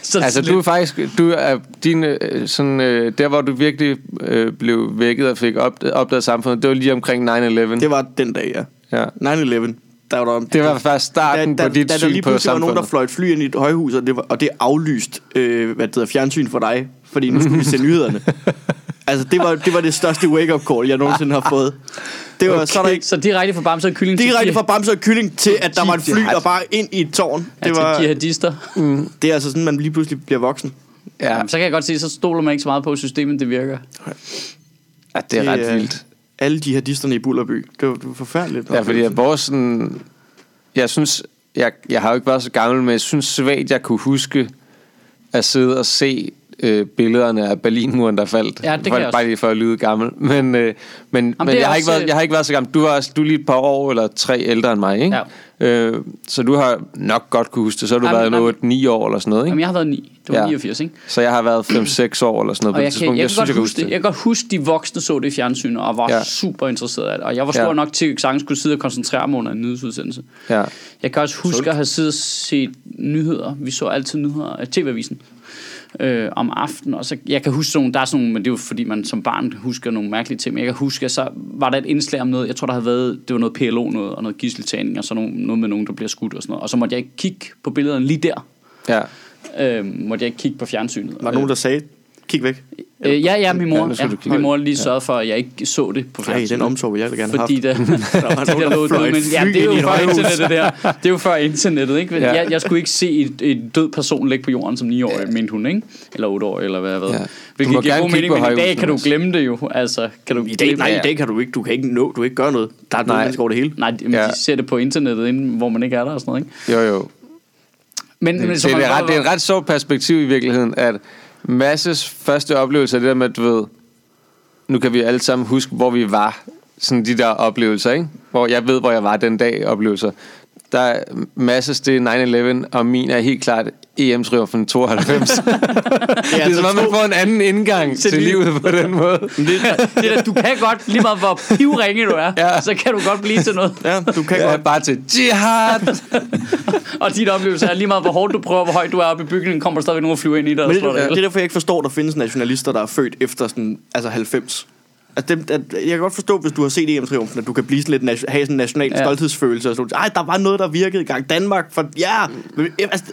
så
Altså, du er faktisk, du er din, øh, sådan, øh, der hvor du virkelig øh, blev vækket og fik op, opdaget samfundet, det var lige omkring 9-11.
det var den dag, ja.
Ja.
9-11, der var der...
Det var faktisk starten på dit
da, der
syn
lige
på
pludselig var nogen, der
samfundet.
fløj et fly ind i et højhus, og det, var, og det aflyst, øh, hvad det hedder, fjernsyn for dig, fordi nu skulle vi se nyhederne. altså, det var, det var det største wake-up call, jeg nogensinde har fået. Det var
Okay.
okay. så er der ikke
Så direkte fra Bamse og Kylling
direkte
til,
fra Bamse og Kylling til, at der var et fly, der bare ind i et tårn.
det
Det,
Altså,
var...
var,
til jihadister.
det er altså sådan, man lige pludselig bliver voksen.
Ja,
Jamen, så kan jeg godt se, så stoler man ikke så meget på, at systemet det virker.
ja det er
Det øh, er-
ret vildt.
Alle jihadisterne i Bullerby. Det var, det var forfærdeligt.
Ja, fordi at vores sådan... Jeg synes... Jeg, jeg har jo ikke været så gammel, men jeg synes svagt, jeg kunne huske at sidde og se øh, billederne af Berlinmuren, der faldt.
Ja, det kan
for,
jeg også.
Bare lige for at lyde gammel. Men, øh, men, Jamen,
det
men
er
jeg, har
også,
ikke været, jeg har ikke været så gammel. Du er, også, du er lige et par år eller tre ældre end mig, ikke? Ja. Øh, så du har nok godt kunne huske det. Så har du
Jamen,
været en 8-9 år eller sådan noget, ikke?
Jamen, jeg har været 9. Det var
Ja.
ja. 89, ikke?
Så jeg har været 5-6 år eller sådan noget på
Og
det
jeg, kan,
tidspunkt.
jeg, jeg, kan godt
jeg
huske det. Jeg kan godt huske, de voksne så det i fjernsynet, og var
Ja.
ja. super interesseret af det. Og jeg var
Ja.
stor ja. nok til, at jeg sagtens skulle sidde og koncentrere mig under en nyhedsudsendelse.
Ja.
Jeg kan også huske at have siddet og set nyheder. Vi så altid nyheder af TV-avisen øh, om aftenen. Og så, jeg kan huske sådan nogle, der er sådan nogle, men det er jo fordi, man som barn husker nogle mærkelige ting. Men jeg kan huske, at så var der et indslag om noget. Jeg tror, der havde været, det var noget PLO noget, og noget gisseltagning, og så nogle, noget med nogen, der bliver skudt og sådan noget. Og så måtte jeg ikke kigge på billederne lige der.
Ja.
Øh, måtte jeg ikke kigge på fjernsynet.
Var der nogen, der sagde, kig væk?
Øh, ja, ja, min
Ja,
mor,
nu skal
ja,
du kigge.
min mor lige sørgede for, at jeg ikke så det på
Nej,
fjernsynet.
den omsorg ville jeg da gerne have
fordi der,
var
fordi
nogen,
der
der
lå
fløj
noget,
et
men
fly
ja, det er
ind i
jo
et
før
højhus.
internettet der. Det er jo før internettet, ikke? Men
Ja.
Jeg, jeg skulle ikke se et, et død person ligge på jorden som 9 år, ja. mente hun, ikke? Eller 8 år, eller hvad jeg ved.
Ja.
Ja.
Du må
Hvilket giver
gerne
god
kigge
mening,
på
men i dag
højhuset
kan du
også.
glemme det jo. Altså, kan du
I dag, nej,
glemme-
i dag kan du ikke. Du kan ikke nå, du kan ikke gøre noget. Der er
Nej.
nogle mennesker over det hele.
Nej, de, ja.
Ja.
de ser det på internettet, inden, hvor man ikke er der og sådan noget, ikke?
Jo, jo.
Men, men
det,
så
det,
man-
er ret, det er et ret sjovt perspektiv i virkeligheden, at Masses første oplevelse er det der med, at du ved, nu kan vi alle sammen huske, hvor vi var. Sådan de der oplevelser, ikke? Hvor jeg ved, hvor jeg var den dag, oplevelser. Der er Masses, det er 9-11, og min er helt klart EM-triumfen 92. det
det
er som om, man får en anden indgang til,
til livet.
livet på den måde.
det, er- det er, du kan godt, lige meget hvor pivringe du er,
Ja.
ja. så kan du godt blive til noget.
Ja, du kan
Ja,
godt.
bare til jihad!
Og dit oplevelse er lige meget, hvor hårdt du prøver, hvor højt du er oppe i bygningen, kommer der stadigvæk nogen og flyver ind i dig. og
Men det,
slår dig ihjel.
det er derfor, jeg ikke forstår, at der findes nationalister, der er født efter sådan, altså 90. Altså dem, at, jeg kan godt forstå, hvis du har set EM-triumfen, at du kan blive sådan lidt nation, have sådan en national
Ja.
ja. stolthedsfølelse. Og sådan, noget. Ej, der var noget, der virkede i gang. Danmark, for ja. Men, jamen, altså,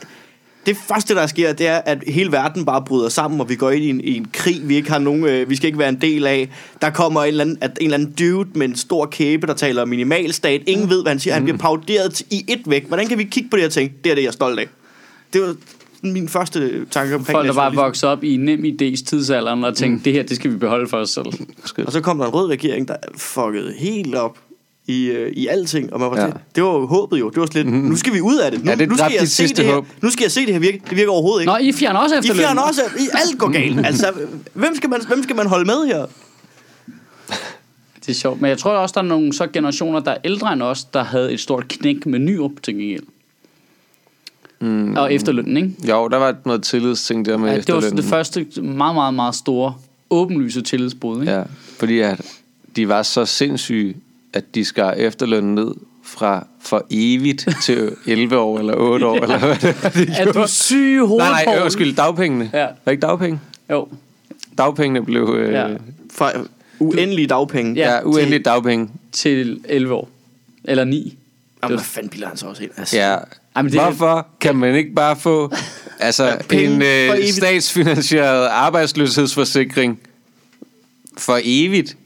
det første, der sker, det er, at hele verden bare bryder sammen, og vi går ind i en, i en krig, vi ikke har nogen, øh, vi skal ikke være en del af. Der kommer en eller, anden, at en eller anden dude med en stor kæbe, der taler om minimalstat.
Mm.
Ingen ved, hvad han siger. Han bliver pauderet til- i et væk. Hvordan kan vi kigge på det og tænke, det er det, jeg er stolt af? Det var sådan min første tanke omkring
Folk, der bare
nationalisme.
voksede op i nem idés tidsalderen og tænkte, mm. det her, det skal vi beholde for os selv.
Og så kom der en rød regering, der fuckede helt op i, øh, i alting. Og man var
Ja. Mhm.
ja. det var jo håbet jo. Det var slet, nu skal vi ud af det. Nu,
Ja, det
nu,
dræbte
skal
dit
jeg se
sidste
det her.
håb.
nu skal jeg se det her virke. Det virker overhovedet ikke.
Nå, I fjerner også
I
efterløn.
fjerner også, at I alt går
Mhm.
galt. Altså, hvem skal, man, hvem skal man holde med her?
Det er sjovt, men jeg tror også, der er nogle så generationer, der er ældre end os, der havde et stort knæk med ny op til gengæld. Mm. Og efterlønnen, ikke?
Jo, der var noget tillidsting der med
Ja, det var sådan
efterlønnen.
det første meget, meget, meget store åbenlyse tillidsbrud, ikke?
Ja, fordi at de var så sindssyge, at de skar efterlønnen ned fra for evigt til 11 år eller 8 år. ja. eller hvad det var, de
Er du
gjorde.
syg i hovedet,
Nej, nej,
Poul?
undskyld, dagpengene.
Ja.
Ja. Var ikke dagpenge?
Jo.
Dagpengene blev øh,
Ja.
ja. Ja,
Fra uendelige dagpenge.
Ja.
uendeligt dagpenge.
Til 11 år. Eller 9.
Jamen, hvad fanden bilder han så også ind? Altså.
Ja.
Ej,
Jamen,
men det-
det, Hvorfor kan man ikke bare få altså,
penge
en
for
øh,
evigt.
statsfinansieret arbejdsløshedsforsikring for evigt,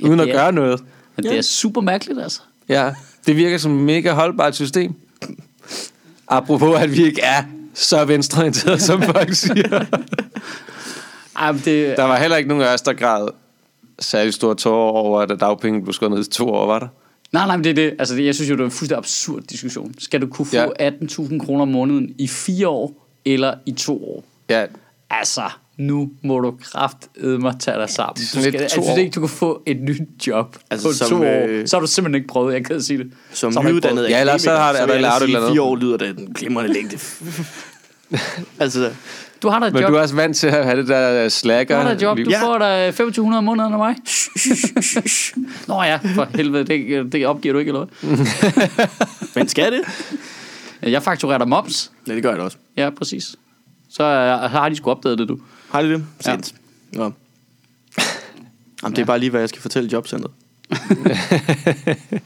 uden
Ja,
at
det er-
gøre noget?
Men det er super mærkeligt, altså.
Ja, det virker som et mega holdbart system. Apropos, at vi ikke er så venstreorienterede, som folk siger.
Ej, men det,
Der var heller ikke nogen af os, der græd særlig store tårer over, at dagpenge blev skåret ned til to år, var der?
Nej, nej, men det er det. Altså, det, jeg synes jo, det er en fuldstændig absurd diskussion. Skal du kunne få
Ja.
ja. 18.000 kroner om måneden i fire år eller i to år?
Ja,
Altså, nu må du kraftedme tage dig sammen. Du
lidt
skal, altså, jeg
to
synes
år.
ikke, du kan få et nyt job altså,
Altså,
på
som,
to år.
øh,
Så har du simpelthen ikke prøvet, jeg kan sige det. Så
Som
har du ikke
nyuddannet
prøvet.
Ja, ellers så har det- er der
akademiker,
lavet et
så vil jeg
eller
da
andet.
sige, fire år lyder da den glimrende længde. altså,
Du har da et
men
job.
du er også vant til at have det der
Du
slacker.
har da et job. Du
Ja.
får da 2.500 om måneden af mig. Nå ja, for helvede, det, det opgiver du ikke, eller hvad?
men skal det?
Jeg fakturerer dig moms.
Ja, det gør jeg da også.
Ja, præcis. Så øh, har de sgu opdaget det, du.
Har de det?
Ja.
Sent. Ja. Nå. Jamen, det er bare lige, hvad jeg skal fortælle i jobcenteret.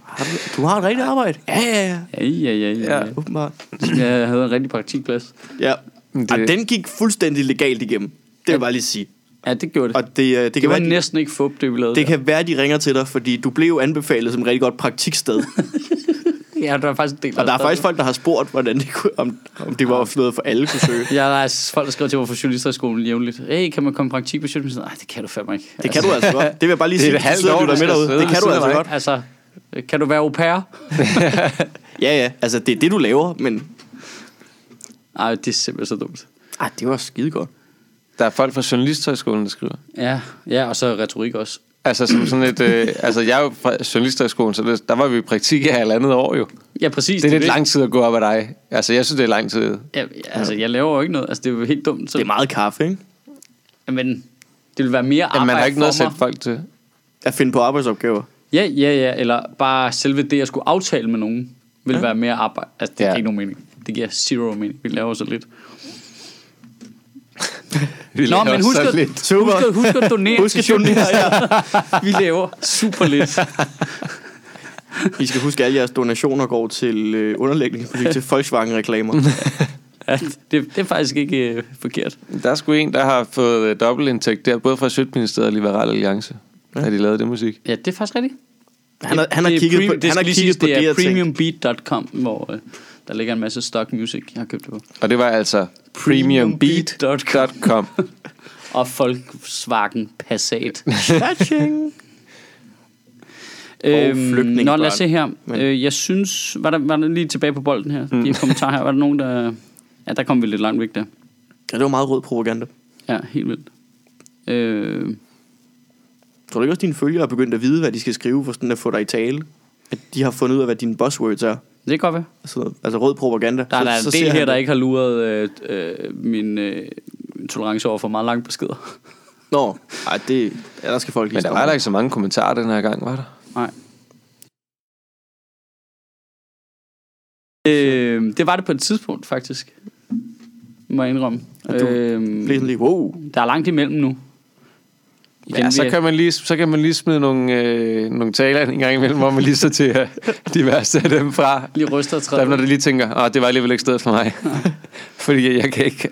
har du, du har et rigtigt arbejde? Ja, ja, ja.
Ja, ja, ja. ja. ja.
Ja, åbenbart.
Jeg havde en rigtig praktikplads.
Ja.
Men det-
Det... den gik fuldstændig legalt igennem. Det vil jeg bare lige sige.
Ja, det gjorde det.
Og
Og
det, øh, det,
det
kan
var
være,
være,
de,
næsten ikke fup, det vi lavede.
det
Det
kan være, de ringer til dig, fordi du blev jo anbefalet som et rigtig godt praktiksted.
kan... Ja, der er faktisk en del
Og der er
stadig-
faktisk folk, der har spurgt, hvordan det kunne, om, om det var noget for alle kunne søge.
Ja, der er folk, der skriver til mig fra journalisterskolen jævnligt. Hey, kan man komme i praktik på journalisten? Nej, det kan du fandme ikke.
Det kan du altså godt. Det vil jeg bare lige
Det er
sige,
et halvt
hvis du sidder
år,
og lytter
du
med
skal
derude.
sidde
Det
og
kan du
sidde
altså
og
godt.
Altså, øh, kan du være au pair?
Ja, ja. Altså, det er det, du laver, men...
Nej, det er simpelthen så dumt.
Ah, det var skide godt.
Der er folk fra Journalisthøjskolen, der skriver.
Ja, ja og så retorik også.
Altså, som sådan et, øh, altså jeg er jo fra Journalisthøjskolen, så det, der var vi i praktik i halvandet år jo.
Ja, præcis.
Det er lidt
det.
lang tid at gå op ad dig. Altså, jeg synes, det er lang tid.
Ja, altså, jeg laver jo ikke noget. Altså, det er jo helt dumt. Så...
Det er meget kaffe, ikke?
Men det vil være mere arbejde
Jamen, man har ikke
for
noget at sætte
mig.
folk til.
At finde på arbejdsopgaver.
Ja, ja, ja. Eller bare selve det, jeg skulle aftale med nogen, vil ja. være mere arbejde. Altså, det ja.
Ja.
giver ikke nogen mening. Det giver zero mening. Vi laver så lidt.
Vi
Nå,
laver
men husk
så
at,
lidt.
husk, at, husk at donere
Husk
til
at donere,
journalister. Vi laver super lidt.
I skal huske, at alle jeres donationer går til øh, underlægning, til Volkswagen-reklamer.
Ja, det, det er faktisk ikke øh, forkert.
Der er sgu en, der har fået øh, dobbeltindtægt der, både fra Sjøtministeriet og Liberal Alliance, ja. da de lavede det musik.
Ja, det er faktisk rigtigt.
Han har, han har
Det er
kigget
pre-
på
det,
han har
skal lige
kigget
siges,
på
det,
det
er
og tænkt,
premiumbeat.com, hvor øh, der ligger en masse stock music, jeg har købt det på.
Og det var altså premiumbeat.com.
Og Volkswagen Passat.
"Catching." flygtningebørn.
Øhm, Nå, lad os se her.
Men-
Øh, jeg synes... Var der, var der lige tilbage på bolden her? Mm. De kommentarer her. Var der nogen, der... Ja, der kom vi lidt langt væk der.
Ja, det var meget rød propaganda.
Ja, helt vildt. Øh,
Tror du ikke også, dine følgere er begyndt at vide, hvad de skal skrive for sådan at få dig i tale? At de har fundet ud af, hvad dine buzzwords er?
det kan godt være.
Altså, altså rød propaganda.
Der er der er en del
ser
her,
han
der
det.
ikke har luret øh, øh, min øh, tolerance over for meget lange beskeder.
Nå, ej, det, ja, der skal folk lige
Men der
stoppe.
var heller ikke så mange kommentarer den her gang, var der?
Nej. Øh, det var det på et tidspunkt, faktisk. Må jeg indrømme.
Og du
Øh,
Blev sådan lige, wow.
der er langt imellem nu.
Igen, ja,
vil
så
jeg-
kan, man lige, så kan man lige smide nogle, øh, nogle taler ind en gang imellem, hvor man lige så til øh, de værste af dem fra.
Lige ryster og træder.
Der, når det lige tænker, åh, det var alligevel ikke stedet for mig. Fordi jeg kan ikke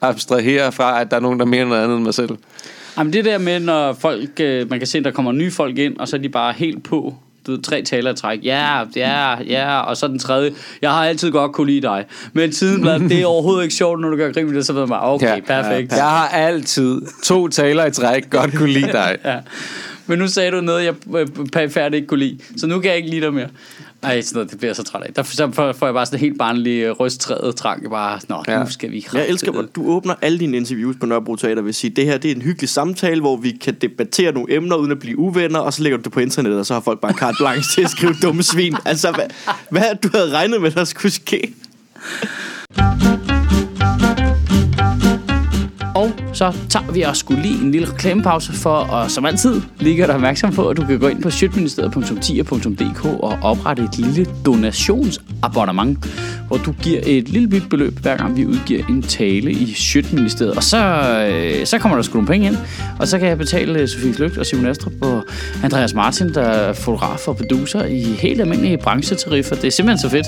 abstrahere fra, at der er nogen, der mener noget andet end mig selv.
Jamen det der med, når folk, øh, man kan se, der kommer nye folk ind, og så er de bare helt på. Du ved, tre taler i træk. Ja, ja, ja. Og så den tredje. Jeg har altid godt kunne lide dig. Men siden blev det er overhovedet ikke sjovt, når du gør grin med det, så ved man bare, okay, perfekt.
Jeg har altid to taler i træk godt kunne lide dig.
Ja. Men nu sagde du noget, jeg øh, perfekt ikke kunne lide. Så nu kan jeg ikke lide dig mere. Ej, sådan noget, det bliver jeg så træt af. Der så får- får jeg bare sådan en helt barnlig øh, rysttræet trang. Bare, nå, ja.
Ja.
nu skal vi...
Jeg elsker, hvor du åbner alle dine interviews på Nørrebro Teater ved at sige, det her det er en hyggelig samtale, hvor vi kan debattere nogle emner uden at blive uvenner, og så lægger du det på internettet, og så har folk bare carte blanche til at skrive dumme svin. Altså, hvad, hvad du havde regnet med, der skulle ske?
Og så tager vi også skulle lige en lille reklamepause for, og som altid ligger der opmærksom på, at du kan gå ind på shitministeriet.10.dk og oprette et lille donationsabonnement, hvor du giver et lille bit beløb, hver gang vi udgiver en tale i Shitministeriet. Og så, øh, så kommer der sgu nogle penge ind, og så kan jeg betale øh, Sofie Flygt og Simon Astrup og Andreas Martin, der er fotograf og producer i helt almindelige branchetariffer. Det er simpelthen så fedt,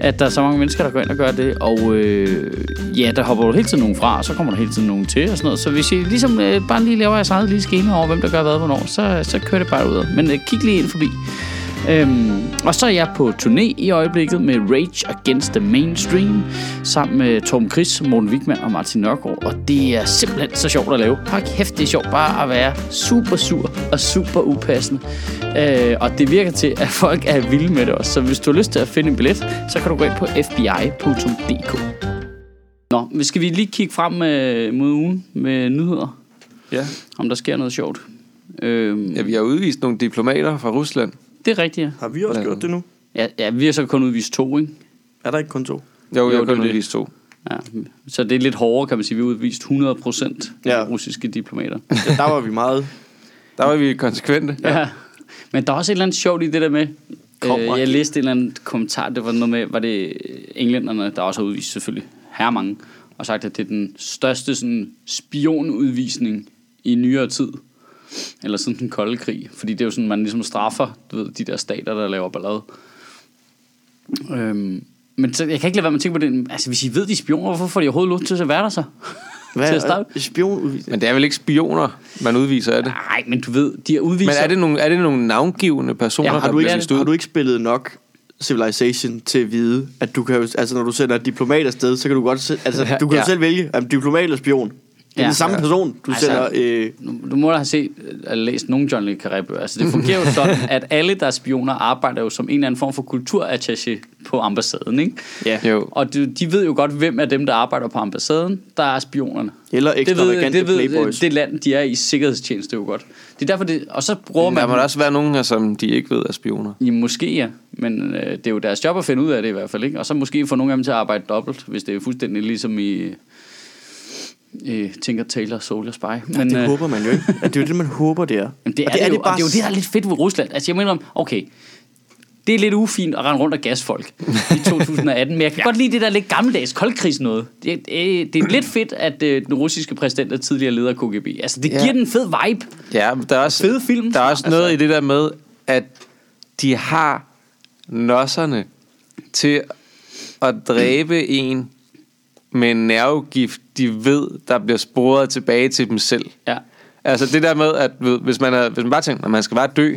at der er så mange mennesker, der går ind og gør det, og øh, ja, der hopper jo hele tiden nogen fra, og så kommer der hele tiden nogen til og sådan noget. Så hvis I ligesom øh, bare lige laver jeres eget lille schema over, hvem der gør hvad hvornår, så, så kører det bare ud. Men øh, kig lige ind forbi. Øhm, og så er jeg på turné i øjeblikket med Rage Against the Mainstream, sammen med Tom Chris, Morten Wigman og Martin Nørgaard, og det er simpelthen så sjovt at lave. Hold kæft, det er sjovt bare at være super sur og super upassende. Øh, og det virker til, at folk er vilde med det også. Så hvis du har lyst til at finde en billet, så kan du gå ind på fbi.dk. Nå, men skal vi lige kigge frem øh, mod ugen med nyheder,
Ja.
om der sker noget sjovt? Øhm,
ja, vi har udvist nogle diplomater fra Rusland.
Det er rigtigt, ja.
Har vi også gjort det nu?
ja. Ja, vi har så kun udvist to, ikke?
Er der ikke kun to?
Jo, jeg
det er
har kun
det.
udvist to.
Ja, så det er lidt hårdere, kan man sige. Vi har udvist 100 procent
Ja.
ja. russiske diplomater.
Ja, der var vi meget.
Der var vi konsekvente.
Ja. Men der er også et eller andet sjovt i det der med...
Kommer
Øh, jeg
ikke.
læste en eller anden kommentar, det var noget med, var det englænderne, der også har udvist selvfølgelig her mange, og sagt, at det er den største sådan, spionudvisning i nyere tid. Eller sådan den kolde krig. Fordi det er jo sådan, man ligesom straffer du ved, de der stater, der laver ballade. Øhm, men så, jeg kan ikke lade være med at tænke på det. Altså, hvis I ved, de er spioner, hvorfor får de overhovedet lov til at være der så? til at starte.
Spionudvisning.
Men det er vel ikke spioner, man udviser af det?
Nej, men du ved, de har udvist
Men er det nogle, er det nogle navngivende personer,
Ja,
ja,
har
der
Har du,
bliver
Ja,
vist
det-
ikke,
ud?
har du ikke spillet nok Civilization til at vide, at du kan jo, altså når du sender et diplomat afsted, så kan du godt se, altså du kan ja.
ja.
jo selv vælge, om diplomat eller spion. Det
Ja.
er ja. den samme
Ja.
person, du
Altså-
altså, sender, øh,
Nu- Du må da have set eller læst nogle John le Carré bøger. Altså, det fungerer jo sådan, at alle, der er spioner, arbejder jo som en eller anden form for kulturattaché på ambassaden, ikke?
ja.
Jo.
Og de, de ved jo godt, hvem af dem, der arbejder på ambassaden, der er spionerne.
eller
Det ved,
ekstravagante
det ved
playboys.
det land, de er i sikkerhedstjeneste jo godt. Det er derfor, det, og så
Mm,
bruger
Der
man...
må der også være nogen her, som de ikke ved er spioner.
Ja, måske ja, men øh, det er jo deres job at finde ud af det i hvert fald, ikke? Og så måske få nogle af dem til at arbejde dobbelt, hvis det er fuldstændig ligesom i... Øh, Tinker Taylor, Soldier Spy. Men,
Det
øh,
håber man jo ikke. At det er jo det, man håber, det er.
Jamen, det, er det, er det, jo, bare... og det er jo det, der er lidt fedt ved Rusland. Altså, jeg mener om, okay, det er lidt ufint at rende rundt og gasse folk i 2018, men jeg kan godt lide det der lidt gammeldags koldkrigs noget. Det, øh, det er lidt fedt, at øh, den russiske præsident er tidligere leder af KGB. Altså, det
Ja.
ja. giver den en fed vibe.
Ja, men der er også,
Fede film.
Der er også
Altså-
noget i det der med, at de har nosserne til at dræbe en med en nervegift, de ved, der bliver sporet tilbage til dem selv.
Ja.
Altså det der med, at ved, hvis man, er, hvis man bare tænker, at man skal bare dø,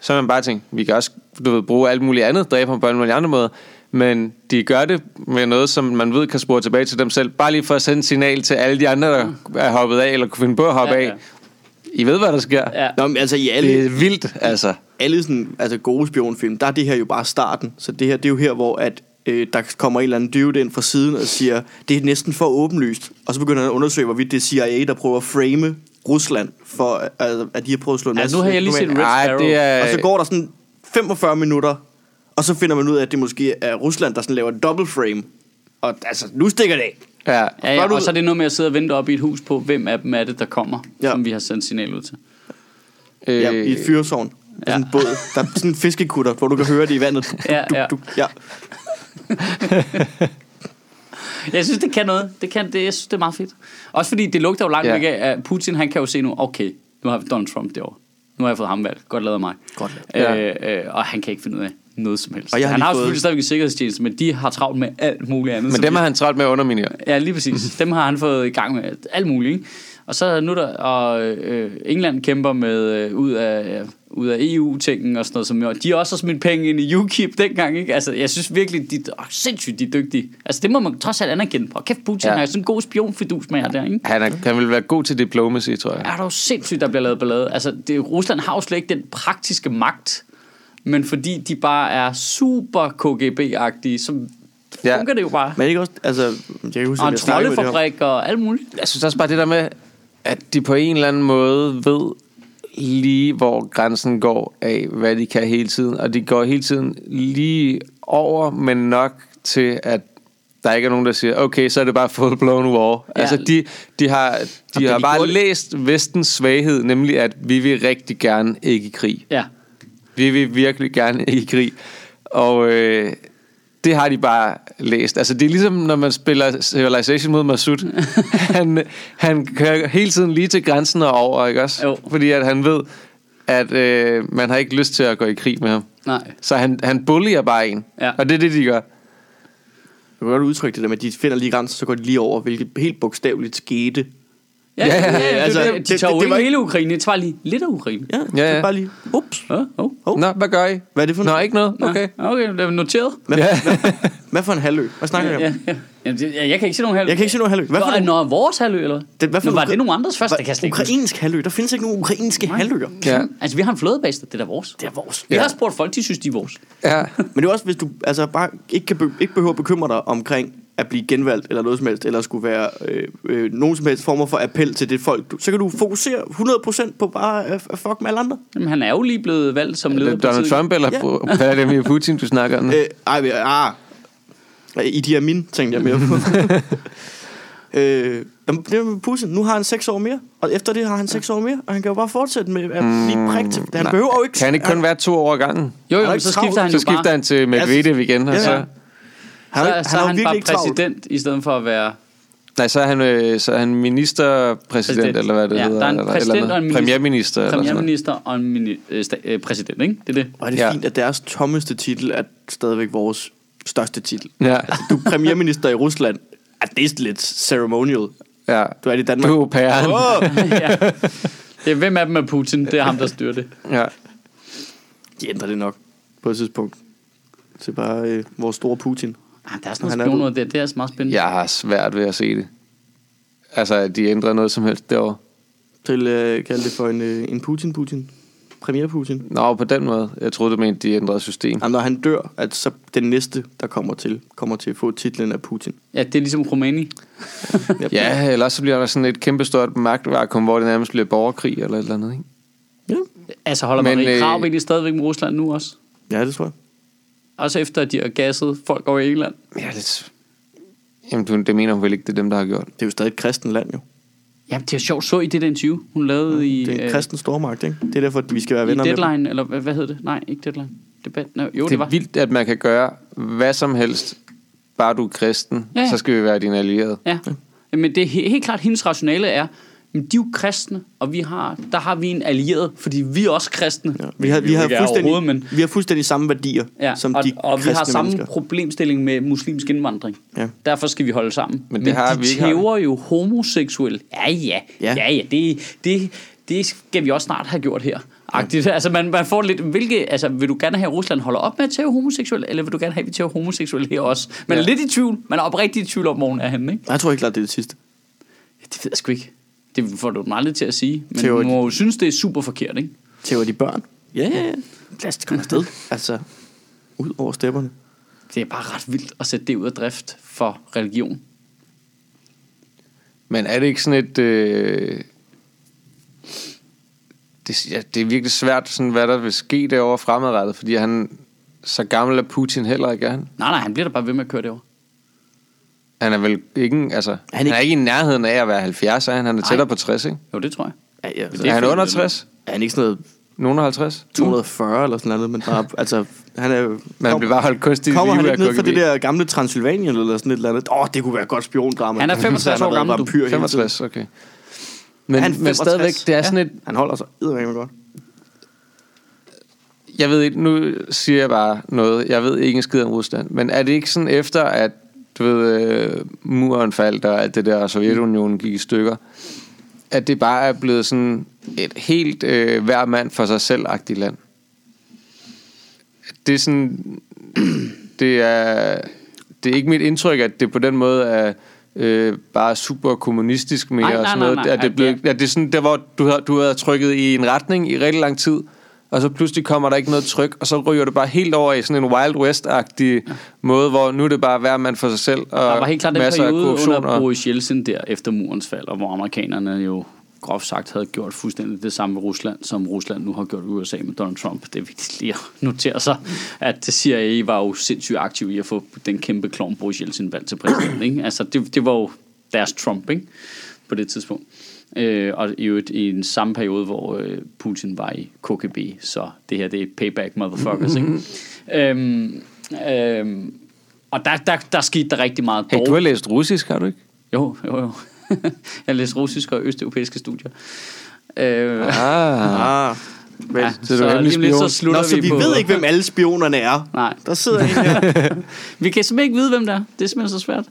så har man bare tænkt, vi kan også du ved, bruge alt muligt andet, dræbe ham på alle mulige andre måder, men de gør det med noget, som man ved kan spore tilbage til dem selv, bare lige for at sende et signal til alle de andre, der er hoppet af, eller kunne finde på at hoppe
Ja,
ja,
ja.
af. I ved, hvad der sker.
Ja.
Nå, men altså i alle,
Det er vildt, altså.
alle sådan, altså gode spionfilm, der er det her jo bare starten. Så det her, det er jo her, hvor at, øh, der kommer en eller anden dude ind fra siden og siger, det er næsten for åbenlyst. Og så begynder han at undersøge, hvorvidt det er CIA, der prøver at frame Rusland, for øh, altså, at de har prøvet at slå en
Altså,
masse
nu har jeg lige set
diplomater.
Red
Ej,
Sparrow.
det er-
Og så går der sådan 45 minutter, og så finder man ud af, at det måske er Rusland, der sådan laver en double frame. Og altså, nu stikker det af.
Ja.
Ja,
Var
ja,
du-
og så er det noget med at sidde og vente op i et hus på, hvem af dem er det, der kommer,
Ja.
ja. som vi har sendt signal ud til.
Øh,
Ja, i et fyrsovn. Ja. Sådan en båd. Der er sådan en fiskekutter, hvor du kan høre det i vandet.
Ja, ja.
ja.
Jeg synes, det kan noget. Det, kan, det, jeg synes, det er meget fedt. Også fordi det lugter jo langt
Ja.
væk af, at Putin han kan jo se nu, okay, nu har vi Donald Trump derovre. Nu har jeg fået ham valgt. Godt lavet af mig. Godt
lavet.
Øh, øh, og han kan ikke finde ud af noget som helst.
Og jeg har
han
lige
har jo
fået-
selvfølgelig stadigvæk en sikkerhedstjeneste, men de har travlt med alt muligt andet.
Men
som
dem
de-
har han travlt med at underminere.
Ja, lige
Mm.
præcis. Dem har han fået i gang med alt muligt. Ikke? Og så er nu der, og øh, England kæmper med øh, ud af, øh, ud af EU-tingen og sådan noget, som jo, de også har smidt penge ind i UKIP dengang, ikke? Altså, jeg synes virkelig, de er sindssygt de er dygtige. Altså, det må man trods alt anerkende. Og kæft, Putin
Ja.
ja. har jo sådan en god spionfidus med jer der, ikke?
Han, er, han vil være god til diplomacy, tror jeg.
er der jo sindssygt, der bliver lavet ballade. Altså, det, Rusland har jo slet ikke den praktiske magt, men fordi de bare er super KGB-agtige, så
Ja.
ja. fungerer det jo bare.
Men ikke også, altså, jeg kan huske,
Og
at
en
jeg snakkede med det her.
troldefabrik og alt muligt.
Jeg synes også bare det der med, at de på en eller anden måde ved lige, hvor grænsen går af, hvad de kan hele tiden. Og de går hele tiden lige over, men nok til, at der ikke er nogen, der siger, okay, så er det bare full blown war. Ja.
Ja.
Altså, de, de har, de har
de
bare
gjorde-
læst vestens svaghed, nemlig at vi vil rigtig gerne ikke i krig.
Ja.
Vi vil virkelig gerne i krig. Og øh, det har de bare læst. Altså, det er ligesom, når man spiller Civilization mod Masud. han, han kører hele tiden lige til grænsen og over, ikke også?
Jo.
Fordi at han ved, at øh, man har ikke lyst til at gå i krig med ham.
Nej.
Så han, han bullier bare en.
Ja.
Og det er det, de gør.
Du kan godt udtrykke det der med, at de finder lige grænser, så går de lige over, hvilket helt bogstaveligt skete.
Ja, ja, ja, ja, altså, det, de
det-
tager jo
det
ikke
var ikke-
hele Ukraine, de tager lige lidt af Ukraine.
Ja,
Ja,
ja,
ja.
ja. bare lige, ups.
Ja, oh.
Hov.
Nå, hvad gør I?
Hvad er det for
Nå,
noget?
ikke noget? Okay.
Ja, okay, det er noteret.
Hvad, ja. hvad for en halvø? Hvad snakker jeg om?
Ja, ja. Jamen, det- ja, jeg kan ikke se nogen halvø.
Jeg kan ikke se nogen halvø. Hvad for
Nå,
nogle-
Nå, vores halvø, eller
Det- hvad for
Men var
nogle-
det nogen andres først?
Hva-
det kan jeg slet ikke huske.
Ukrainsk halvø. Der findes ikke nogen ukrainske Nej. halvøer.
Ja.
Altså, vi har en flådebase, det er da vores.
Det er vores.
Vi
Ja.
har spurgt folk, de synes, de er vores.
Ja.
Men det er også, hvis du altså, bare ikke, kan be- ikke behøver at bekymre dig omkring at blive genvalgt eller noget som helst, eller skulle være øh, øh, nogen som helst former for appel til det folk. Du, så kan du fokusere 100% på bare at uh, fuck med alle andre.
Mm.
Jamen, han er jo lige blevet valgt som leder. på
Donald
tiden.
Trump eller
Ja.
Vladimir Putin, du snakker om?
Øh, ej, men- ah. I de er mine, tænkte jeg mere på. øh, jamen, det er med Putin. Nu har han seks år mere, og efter det har han seks år mere, og han kan jo bare fortsætte med at blive prik til. Han behøver jo ikke...
Mm, Kan han ikke kun være to år ad gangen?
Jo,
Han er
jo,
ikke
så
travlt,
skifter han
Så
jo
skifter
bare.
han til Medvedev igen, altså? og
Ja.
så...
han,
så, så er
har jo
han
virkelig
bare
ikke travlt.
præsident, i stedet for at være...
Nej, så er han, øh, så er han ministerpræsident,
Præsident.
eller hvad det
Ja,
hedder.
der er en
eller,
præsident
eller
og en
noget.
minister.
Premierminister.
altså-
Eller sådan noget.
Premierminister og en mini- øh, sta- øh, præsident, ikke? Det er det.
Og er det ja.
Ja.
fint, at deres tommeste titel er stadigvæk vores største titel. Altså,
Ja.
Du er premierminister i Rusland. Er det er lidt ceremonial.
Ja.
Du er i Danmark.
Du er pæren.
Åh!
ja. ja. Hvem af dem er Putin? Det er ham, der styrer det.
Ja.
De ændrer det nok på et tidspunkt. Til bare øh, vores store Putin.
Ah, der er sådan
Han
noget
er
spion over det. Det er altså meget spændende.
Jeg har svært ved at se det. Altså, at de ændrer noget som helst derovre.
Til øh, kalde det for en, øh, en Putin-Putin. Premier-Putin.
Nå, på den måde. Jeg troede, du mente, de ændrede system.
Jamen, når han dør, at så den næste, der kommer til, kommer til at få titlen af Putin.
Ja, det er ligesom Rumæni.
Yep.
Ja, eller så bliver der sådan et kæmpestort magtvakuum, hvor det nærmest bliver borgerkrig eller et eller andet, ikke?
ja.
Altså holder man
Men,
Marie
øh,
Krav egentlig stadigvæk med Rusland nu også?
Ja, det tror jeg.
Også efter, at de har gasset folk over i England.
Ja, lidt... Jamen, du, det mener hun vel ikke, det er dem, der har gjort. det?
Det er jo stadig et kristent land, jo.
Jamen, det er sjovt. Så I det der interview, hun lavede i,
Det er en
øh,
kristen stormagt, ikke? Det er derfor, at vi skal være
i
venner med dem.
Deadline, eller hvad, hvad hed det? Nej, ikke Deadline. Debat. No, jo, det,
Det
var.
er vildt, at man kan gøre hvad som helst, bare du er kristen,
Ja, ja.
ja. så skal vi være din allierede.
Ja. Men det er he- helt klart, hendes rationale er, men de er jo kristne, og vi har, der har vi en allieret, fordi vi er også kristne.
Ja. Vi, har, vi,
jo
har
ikke er
fuldstændig,
overhovedet, men,
vi har fuldstændig samme værdier,
ja.
som
og,
de
og vi har
kristne
samme
mennesker.
problemstilling med muslimsk indvandring.
Ja.
Derfor skal vi holde sammen.
Men det har
de
vi ikke, har vi?
tæver jo homoseksuelle. Ja, ja,
Ja.
ja, ja, det, det, det skal vi også snart have gjort her. Agtigt. Altså man, man får lidt, hvilke, altså vil du gerne have, at Rusland holder op med at tæve homoseksuelle, eller vil du gerne have, at vi tæver homoseksuelle her også? Man er
Ja.
lidt i tvivl, man er oprigtigt i tvivl om, hvor hun er henne, ikke?
Jeg tror ikke klart, det er det sidste.
Det ved jeg sgu ikke. Det får du mig aldrig til at sige. Men
Teori.
Teori. må jo synes, det er super forkert, ikke?
Tæver de børn? Ja, ja, ja.
Lad os komme afsted.
Altså, ud over stepperne.
Det er bare ret vildt at sætte det ud af drift for religion.
Men er det ikke sådan et... Øh... Det, ja, det er virkelig svært, sådan, hvad der vil ske derovre fremadrettet, fordi han... Så gammel er Putin heller ikke, er han?
Nej, nej, han bliver da bare ved med at køre derover.
Han er vel ikke, altså, han,
ikke-
han er ikke i nærheden af at være 70, er han? Han er
Nej.
tættere på 60, ikke?
Jo, det tror jeg.
Ja, ja,
Det
Det er han
fint,
under
det.
60?
er han ikke sådan noget
Nogen er 50?
240 eller sådan noget, men bare, altså, han er jo...
Men han blev bare holdt kunstigt i
Kommer han
live af
ikke ned fra
KGB.
det der gamle Transylvanien eller sådan et eller andet? Åh, oh, det kunne være et godt spiondrama.
Han er 65
Så
år
har været
gammel, du.
vampyr hele tiden.
65, okay. Men,
Han er
men
65.
stadigvæk, det er sådan et...
Han holder sig eddermame godt.
Jeg ved ikke, nu siger jeg bare noget. Jeg ved ikke en skid om Rusland. Men er det ikke sådan efter, at du ved, øh, muren faldt og alt det der, og Sovjetunionen gik i stykker, at det bare er blevet sådan et helt øh, hver mand for sig selv-agtigt land? Det er sådan... Det er, det er ikke mit indtryk, at det på den måde er øh, bare super kommunistisk mere.
Nej,
og
nej,
sådan
nej,
noget.
nej,
at
nej,
det, blev,
det
at det er sådan der, hvor du har, du har trykket i en retning i rigtig lang tid, og så pludselig kommer der ikke noget tryk, og så ryger det bare helt over i sådan en Wild West-agtig måde, hvor nu er det bare hver mand for sig selv,
Der var
og
helt klart den
masser af
periode
korruption.
under
Og,
Boris Jeltsin der efter murens fald, og hvor amerikanerne jo groft sagt havde gjort fuldstændig det samme med Rusland, som Rusland nu har gjort i USA med Donald Trump. Det er vigtigt lige at notere sig, at CIA var jo sindssygt aktiv i at få den kæmpe klovn Boris Jeltsin valgt til præsident. Ikke? Altså, det, det var jo deres Trump, ikke? på det tidspunkt. Øh, og i øvrigt i en samme periode, hvor øh, Putin var i KGB, så det her, det er payback motherfuckers, ikke? øhm, øhm, og der, der, der skete der rigtig meget.
hey,
dårligt.
du har læst russisk, har du ikke?
Jo, jo, jo. jeg læste russiske og østeuropæiske studier. Øh,
Ah,
Ah, vel.
ja,
Ja.
så er du
så
hemmelig
lige om lidt, så
spion.
slutter
Nå, så vi
på...
ved ikke, hvem alle spionerne er.
Nej.
Der sidder en her.
Vi kan simpelthen ikke vide, hvem der er. Det er simpelthen så svært.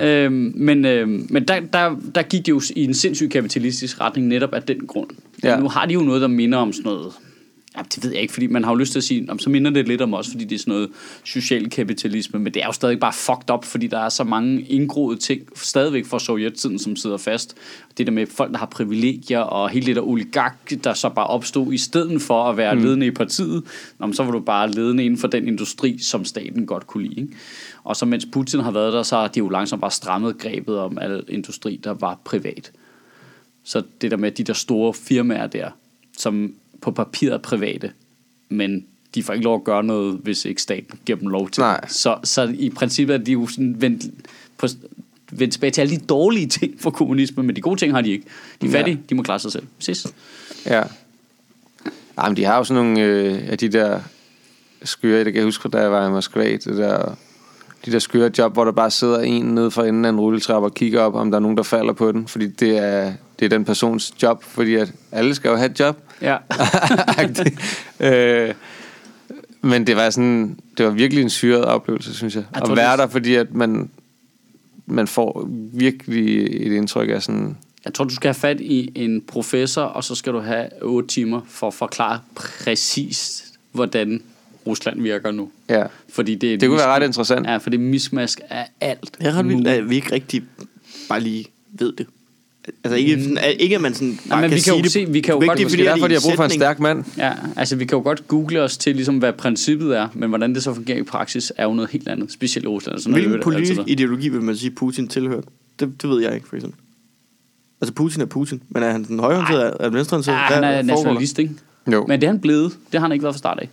Øhm, men øhm, men der, der, der gik det jo i en sindssyg kapitalistisk retning netop af den grund.
Ja.
Ja. Nu har de jo noget, der minder om sådan noget... Ja, det ved jeg ikke, fordi man har jo lyst til at sige, om så minder det lidt om os, fordi det er sådan noget social kapitalisme, men det er jo stadig bare fucked up, fordi der er så mange indgroede ting stadigvæk fra sovjettiden, som sidder fast. Det der med folk, der har privilegier, og hele det der oligark, der så bare opstod, i stedet for at være mm. ledende i partiet, nå, men så var du bare ledende inden for den industri, som staten godt kunne lide. Ikke? Og så mens Putin har været der, så har de jo langsomt bare strammet grebet om al industri, der var privat. Så det der med de der store firmaer der, som på papiret er private, men de får ikke lov at gøre noget, hvis ikke staten giver dem lov til
Nej.
det. Så, så i princippet er de jo sådan vendt, på, vendt tilbage til alle de dårlige ting for kommunismen, men de gode ting har de ikke. De er
Ja.
fattige, de må klare sig selv. Præcis.
ja. Ej, men de har jo sådan nogle øh, af de der skøre, det kan jeg huske, da jeg var i Moskva, det der, de der skøre job, hvor der bare sidder en nede for enden af en rulletrappe og kigger op, om der er nogen, der falder på den, fordi det er, det er den persons job, fordi at alle skal jo have et job.
Ja.
Agtig. øh, men det var sådan, det var virkelig en syret oplevelse, synes jeg.
Jeg
at
tror,
være
det-
der, fordi at man, man får virkelig et indtryk af sådan...
Jeg tror, du skal have fat i en professor, og så skal du have 8 timer for at forklare præcis, hvordan Rusland virker nu.
Ja.
Fordi det, er et
Det kunne være
mismask-
ret interessant.
Ja, for det er mismask af alt.
Jeg er ret vildt, at øh, vi ikke rigtig bare lige ved det. Altså ikke, sådan, at- ikke at man sådan bare
Mm. men vi
kan
kan
sige
jo
det.
se- vi kan jo
Det er
Det
godt- Det
er
er
måske derfor, de
fordi,
har brug for en
sætning.
stærk mand.
Ja, altså vi kan jo godt google os til, ligesom, hvad princippet er, men hvordan det så fungerer i praksis, er jo noget helt andet, specielt i Rusland. altså, og Sådan noget,
Hvilken
det er jo altid
politisk
været.
ideologi vil man sige, Putin tilhører? Det, det ved jeg ikke, for eksempel. Altså, Putin er Putin, men er han den højreorienterede, er han venstreorienterede?
Ja,
Altså, Hvad
Ah, han er
foregår der?
nationalist, ikke?
Jo.
Men det er han blevet. Det har han ikke været fra start af.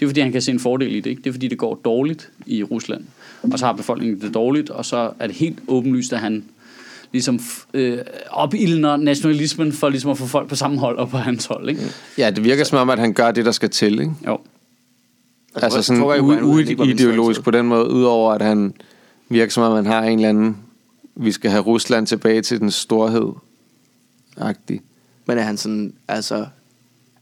Det er fordi, han kan se en fordel i det. Ikke? Det er fordi, det går dårligt i Rusland. Og så har befolkningen det dårligt, og så er det helt åbenlyst, at han ligesom f- øh, opildner nationalismen for ligesom at få folk på samme hold og på hans hold. Ikke?
Mm.
Ja, det virker som om, at han gør det, der skal til, ikke?
Jo.
Altså
jeg
sådan
tror, jeg kunne regne ud, at han ikke var
uideologisk
venstreorienteret.
på den måde, udover at han virker som om, man har en eller anden, vi skal have Rusland tilbage til den storhed. Agtig.
Men er han sådan, altså...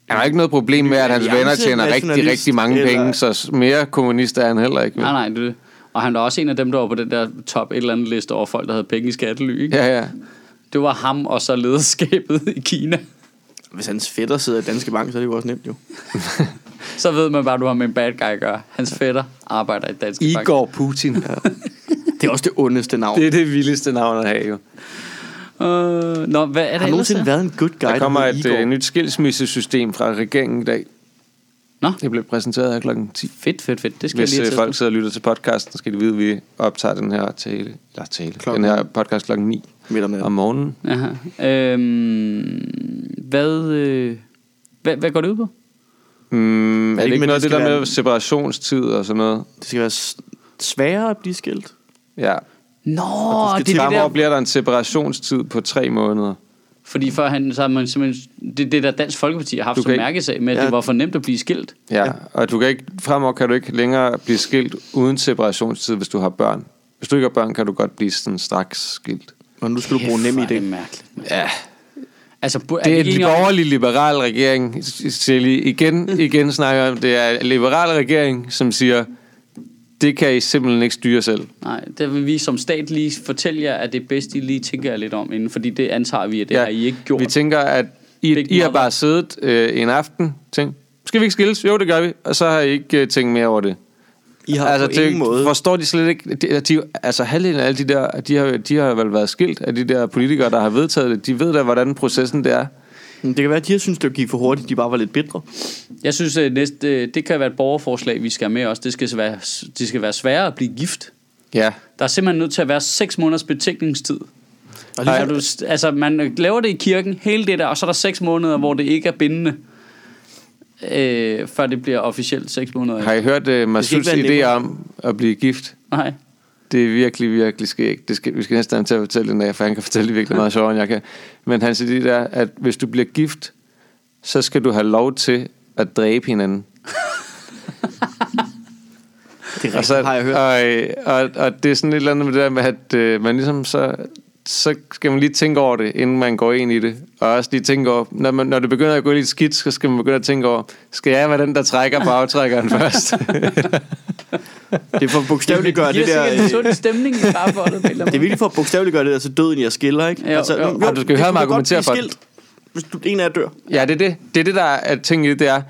Han har ikke noget problem med, at hans
Alliance,
venner tjener rigtig,
nationalist,
rigtig mange
eller-
penge, så mere kommunist er han heller ikke. vel?
Nej, nej, det er det. Og han var også en af dem, der var på den der top et eller andet liste over folk, der havde penge i skattely. Ikke?
Ja, ja.
Det var ham og så lederskabet i Kina.
Hvis hans fætter sidder i Danske Bank, så er det jo også nemt, jo.
Så ved man bare, at du har med en bad guy at gøre. Hans fætter arbejder i Danske Bank.
Igor Putin.
Det er også det ondeste navn.
Det
Det,
er det vildeste navn at have, jo.
Øh, nå, hvad er det
har
ellers?
nogensinde
her?
været en good guy,
Der kommer
hedder
et
Igor?
øh, nyt skilsmissesystem fra regeringen i dag.
Nå.
Det blev præsenteret her klokken 10.
Fedt, fedt, fedt. Det skal
Hvis
jeg lige
øh,
have
folk
folk...
sidder og lytter til podcasten, skal de vide, at vi optager den her tale, eller tale,
Klokken- Mm,
den her podcast klokken 9
Midt om
om
natten.
morgenen.
Aha. Øhm, hvad, øh, hvad, hvad går det ud på?
Mm, er det
ikke
ikke
med,
noget af
det
det
skal
der med
være-
separationstid og sådan noget?
Det skal være s- sværere at blive skilt.
Ja.
Nå,
skal
det, det er det
Fremover
der...
bliver der en separationstid på tre måneder.
Fordi førhen, så har man simpelthen... Det, det der Dansk Folkeparti har haft
Du
som
kan ikke-
mærkesag med, at ja.
Ja.
det var for nemt at blive skilt.
Ja, ja. og du kan ikke, fremover kan du ikke længere blive skilt uden separationstid, hvis du har børn. Hvis du ikke har børn, kan du godt blive sådan straks skilt.
Og nu skal du bruge
Kæft,
nem
hvor
i
er det
det.
mærkeligt. mand.
Ja,
Altså, bu-
det er
vi
en
enige om-
borgerlig-liberal regering, Sally. Igen, igen snakker jeg om, det er en liberal regering, som siger, det kan I simpelthen ikke styre selv.
Nej, det vil vi som stat lige fortælle jer, at det er bedst, I lige tænker jer lidt om inden, fordi det antager vi, at det ja. har I ikke gjort.
Vi tænker, at I,
Big
I har
mother.
bare siddet øh, en aften tænkt, skal vi ikke skilles? Jo, det gør vi. Og så har I ikke øh, tænkt mere over det. Altså,
I har på
det,
ingen måde...
Forstår de slet ikke? De, de, altså halvdelen af alle de der, de har, de har vel været skilt af de der politikere, der har vedtaget det. De ved da, hvordan processen det er.
Det kan være, at de har syntes, det gik for hurtigt. De bare var lidt bitre.
Jeg synes, at næste, det kan være et borgerforslag, vi skal have med os. Det skal være, det skal være sværere at blive gift.
Ja.
Der er simpelthen nødt til at være 6 måneders betænkningstid. Og
Ej.
lige, du, altså, man laver det i kirken, hele det der, og så er der 6 måneder, hvor det ikke er bindende, øh, før det bliver officielt 6 måneder.
Har I hørt uh, Masuds
være
idé
nemmere.
om at blive gift?
Nej.
Det er virkelig, virkelig skægt. Det skal, vi skal næsten have ham til at fortælle den af, for han kan fortælle det virkelig meget sjovere, end jeg kan. Men han siger det der, at hvis du bliver gift, så skal du have lov til at dræbe hinanden.
Det er
Altså,
rigtigt, har jeg hørt.
Og, og, og det er sådan et eller andet med det der med, at øh, man ligesom så, så skal man lige tænke over det, inden man går ind i det. Og også lige tænke over, når, man, når det begynder at gå lidt skidt, så skal man begynde at tænke over, skal jeg være den, der trækker på aftrækkeren først?
Det er for at bogstaveliggøre det der...
Det giver
øh,
sikkert en sund stemning i parforholdet. på en eller
Det er
anden
virkelig for at bogstaveliggøre det der, så døden jeg skiller, ikke? Altså,
Jo, jo.
nu-
Ej, du
skal jo
det
høre
kunne
mig
godt
argumentere
blive
for det.
skilt, Hvis du, en af jer dør.
ja, det er det. Det er det, der er ting i det, det er,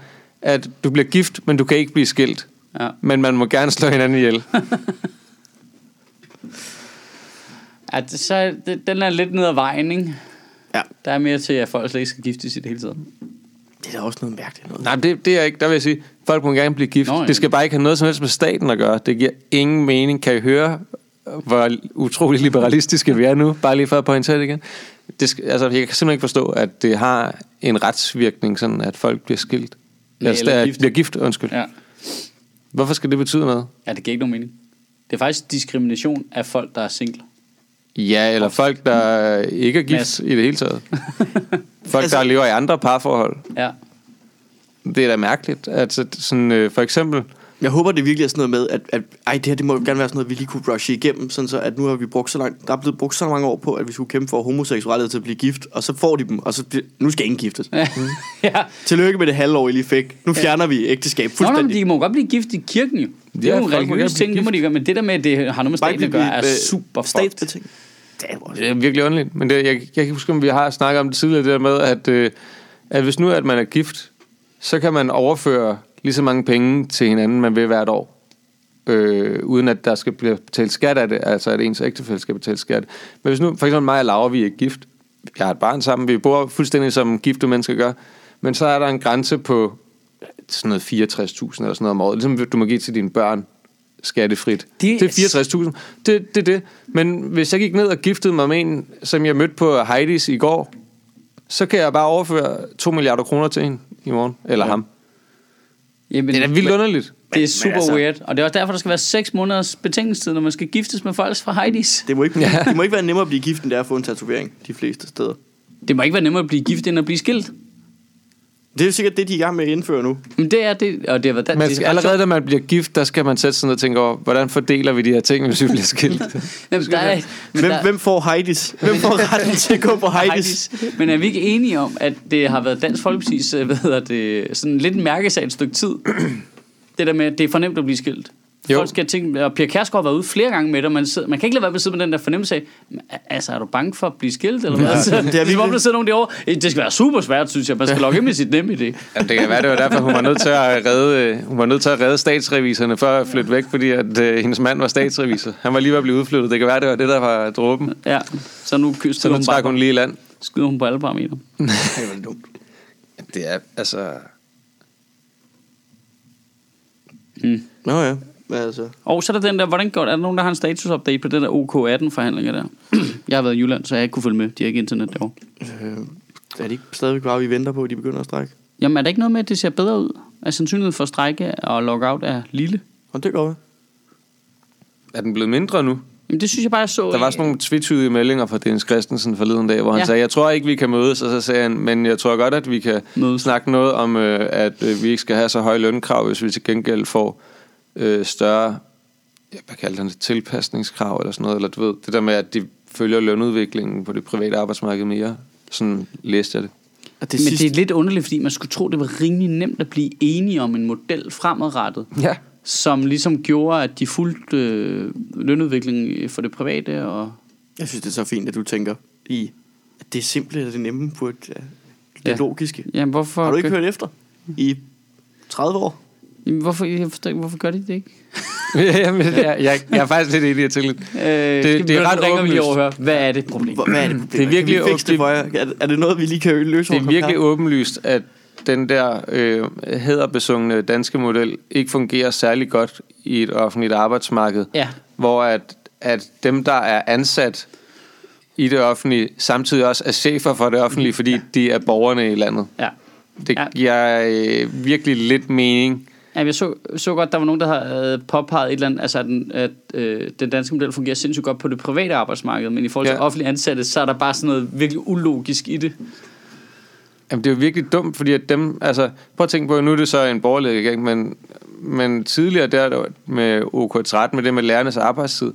at du bliver gift, men du kan ikke blive skilt.
måde. Ja.
Men man må gerne slå hinanden ihjel.
At, så, det, den er lidt ned ad vejen, ikke?
Ja.
Der er mere til, at folk slet ikke skal giftes i det hele tiden.
Det er da også noget mærkeligt noget.
Nej, men det, det er ikke. Der vil jeg sige, folk må gerne blive gift.
Nå,
Nå,
ja.
det skal bare ikke have noget som helst med staten at gøre. Det giver ingen mening. Kan I høre, hvor utrolig liberalistiske vi er nu? Bare lige for at pointere det igen. Det skal, altså, jeg kan simpelthen ikke forstå, at det har en retsvirkning, sådan at folk bliver skilt.
Ja,
altså,
eller
der,
gift.
bliver gift, undskyld. Ja.
Ja.
Hvorfor skal det betyde noget?
ja, det giver ikke nogen mening. Det er faktisk diskrimination af folk, der er single.
Ja, eller folk, der ikke er gift
Mads.
i det hele taget. Folk,
Altså-
der lever i andre parforhold.
Ja.
Det er da mærkeligt. Altså, sådan, øh, for eksempel,
Jeg håber, det virkelig er sådan noget med, at, at ej, det her det må jo gerne være sådan noget, vi lige kunne rushe igennem, sådan så at nu har vi brugt så langt, der er blevet brugt så mange år på, at vi skulle kæmpe for homoseksuelle til at blive gift, og så får de dem, og så bliver, nu skal ingen giftes. Ja.
Mm.
ja.
Tillykke med det halvår, I lige fik. Nu fjerner vi ægteskab
Nå, nå, men
fuldstændig.
de må godt blive gift i kirken jo. Det
Ja,
er jo en
folk må gerne
religiøs
blive
ting, det må de gøre, men det der med, at det har noget med staten at gøre, er super fucked.
statsbetinget. Damn, hvor er det-
Det er virkelig underligt. Men det, jeg, jeg kan ikke huske, om vi har snakket om det tidligere, det der med, at, øh, at hvis nu at man er gift, så kan man overføre lige så mange penge til hinanden, man vil hvert år. Øh, uden at der skal blive betalt skat af det, altså at ens ægtefælle skal betale skat. Men hvis nu, for eksempel mig og Laura, vi er gift, jeg har et barn sammen, vi bor fuldstændig som gifte mennesker gør, men så er der en grænse på sådan noget 64.000 eller sådan noget om året, ligesom du må give til dine børn skattefrit.
Det
Det,
er
det er 60.000. Det, det er det. Men hvis jeg gik ned og giftede mig med en, som jeg mødte på Heidi's i går, så kan jeg bare overføre 2 milliarder kroner til hende i morgen. Eller ja. ham.
Jamen,
Det er da vildt underligt.
Det er
Men-
super
men altså-
weird, og det er også derfor, der skal være 6 måneders betingelsestid, når man skal giftes med folk fra Heidi's.
Det må ikke, blive, det må ikke være nemmere at blive gift, end det er at få en tatovering de fleste steder.
Det må ikke være nemmere at blive gift, end at blive skilt.
Det er jo sikkert det, de er i gang med at indføre nu.
Men det er det, og det har været...
Man
det
skal,
er ret sjovt.
allerede da man bliver gift, der skal man sætte sig ned og tænke over, hvordan fordeler vi de her ting, hvis vi bliver skilt?
Jamen, der er, men
Hvem,
der-
hvem får Heidis? Hvem får retten til at gå på Heidis?
Men er vi ikke enige om, at det har været Dansk Folkeparti's, øh, hvad hedder det, sådan lidt en mærkesag et stykke tid? Det der med, at det er for nemt at blive skilt. Jo.
Jo.
Folk skal tænke, og Pia Kjærsgaard har været ude flere gange med det, og man, sidder, man kan ikke lade være med at sidde med den der fornemmelse af, "Men, altså er du bange for at blive skilt, eller hvad? Ja, det er, det er som om,
virkelig-
der sidder nogen derovre. "Øh, Det skal være super svært, synes jeg. Man skal logge ind med sit nemme idé.
Jamen, det kan være, det var derfor, hun var nødt til at redde, øh, hun var nødt til at redde statsreviserne for at flytte væk, fordi at, øh, hendes mand var statsrevisor. Han var lige ved at blive udflyttet. Det kan være, det var det, der var dråben.
Ja, så nu ky-
Så
skyder,
nu
hun,
trak
bare,
hun lige i land.
skyder hun på alle parametre.
Det er dumt.
Det er, altså...
Nå ja, hvad altså?
Og så er der den der, hvordan går det? Er der nogen, der har en status-update på den der OK18-forhandlinger der? jeg har været i Jylland, så jeg har ikke kunne følge med. De har ikke internet derovre.
Øh, er det ikke stadigvæk bare, vi venter på, at de begynder at strække?
Jamen er der ikke noget med, at det ser bedre ud? At sandsynligheden for strejke og lockout er lille?
Og det går med.
Er den blevet mindre nu?
Jamen det synes jeg bare, jeg så...
Der var sådan nogle tvetydige meldinger fra Dennis Christensen forleden dag, hvor han
Ja.
ja. sagde, jeg tror ikke, vi kan mødes, og så sagde han, men jeg tror godt, at vi kan
Mødes.
mødes. snakke noget om, øh, at øh, vi ikke skal have så høje lønkrav, hvis vi til gengæld får øh, større, ja, hvad kalder han det, tilpasningskrav eller sådan noget, eller du ved, det der med, at de følger lønudviklingen på det private arbejdsmarked mere. Sådan læste jeg det.
Og
Men det er lidt underligt, fordi man skulle tro, det var rimelig nemt at blive enige om en model fremadrettet,
Ja.
som ligesom gjorde, at de fulgte øh, lønudviklingen for det private. Og...
Jeg synes, det er så fint, at du tænker i, at det er simple og det nemme på et, ja, det
Ja.
ja. logiske.
Jamen hvorfor...
Har du ikke
gør...
hørt efter? I 30 år?
Jamen, hvorfor, jeg forstår ikke, hvorfor gør de det ikke?
Jamen, jeg, jeg, jeg er faktisk lidt enig i til lidt.
Øh, det,
det er ret
ringer vi lige
åbenlyst.
overhøre. Hvad er det problem?
Hvor- Hvad er det problemet?
Det er virkelig
kan vi fikse det for jer? Er, er det noget, vi lige kan
Det
løse? over
er
en kop
virkelig
kaffe?
åbenlyst, at den der øh, hæderbesungne danske model ikke fungerer særlig godt i et offentligt arbejdsmarked,
Ja.
hvor at, at dem, der er ansat i det offentlige, samtidig også er chefer for det offentlige, fordi ja. de er borgerne i landet.
Ja.
Det
Mhm. Ja.
giver øh, virkelig lidt mening.
Ja, jeg så, så godt, der var nogen, der havde øh, påpeget et eller andet, altså at den, at øh, den danske model fungerer sindssygt godt på det private arbejdsmarked, men i forhold til ja.
Ja.
offentlige ansatte, så er der bare sådan noget virkelig ulogisk i det.
Jamen, det er jo virkelig dumt, fordi at dem, altså, prøv at tænke på, nu er det så en borgerlig regering, men, men tidligere der der med OK13, med det med lærernes arbejdstid,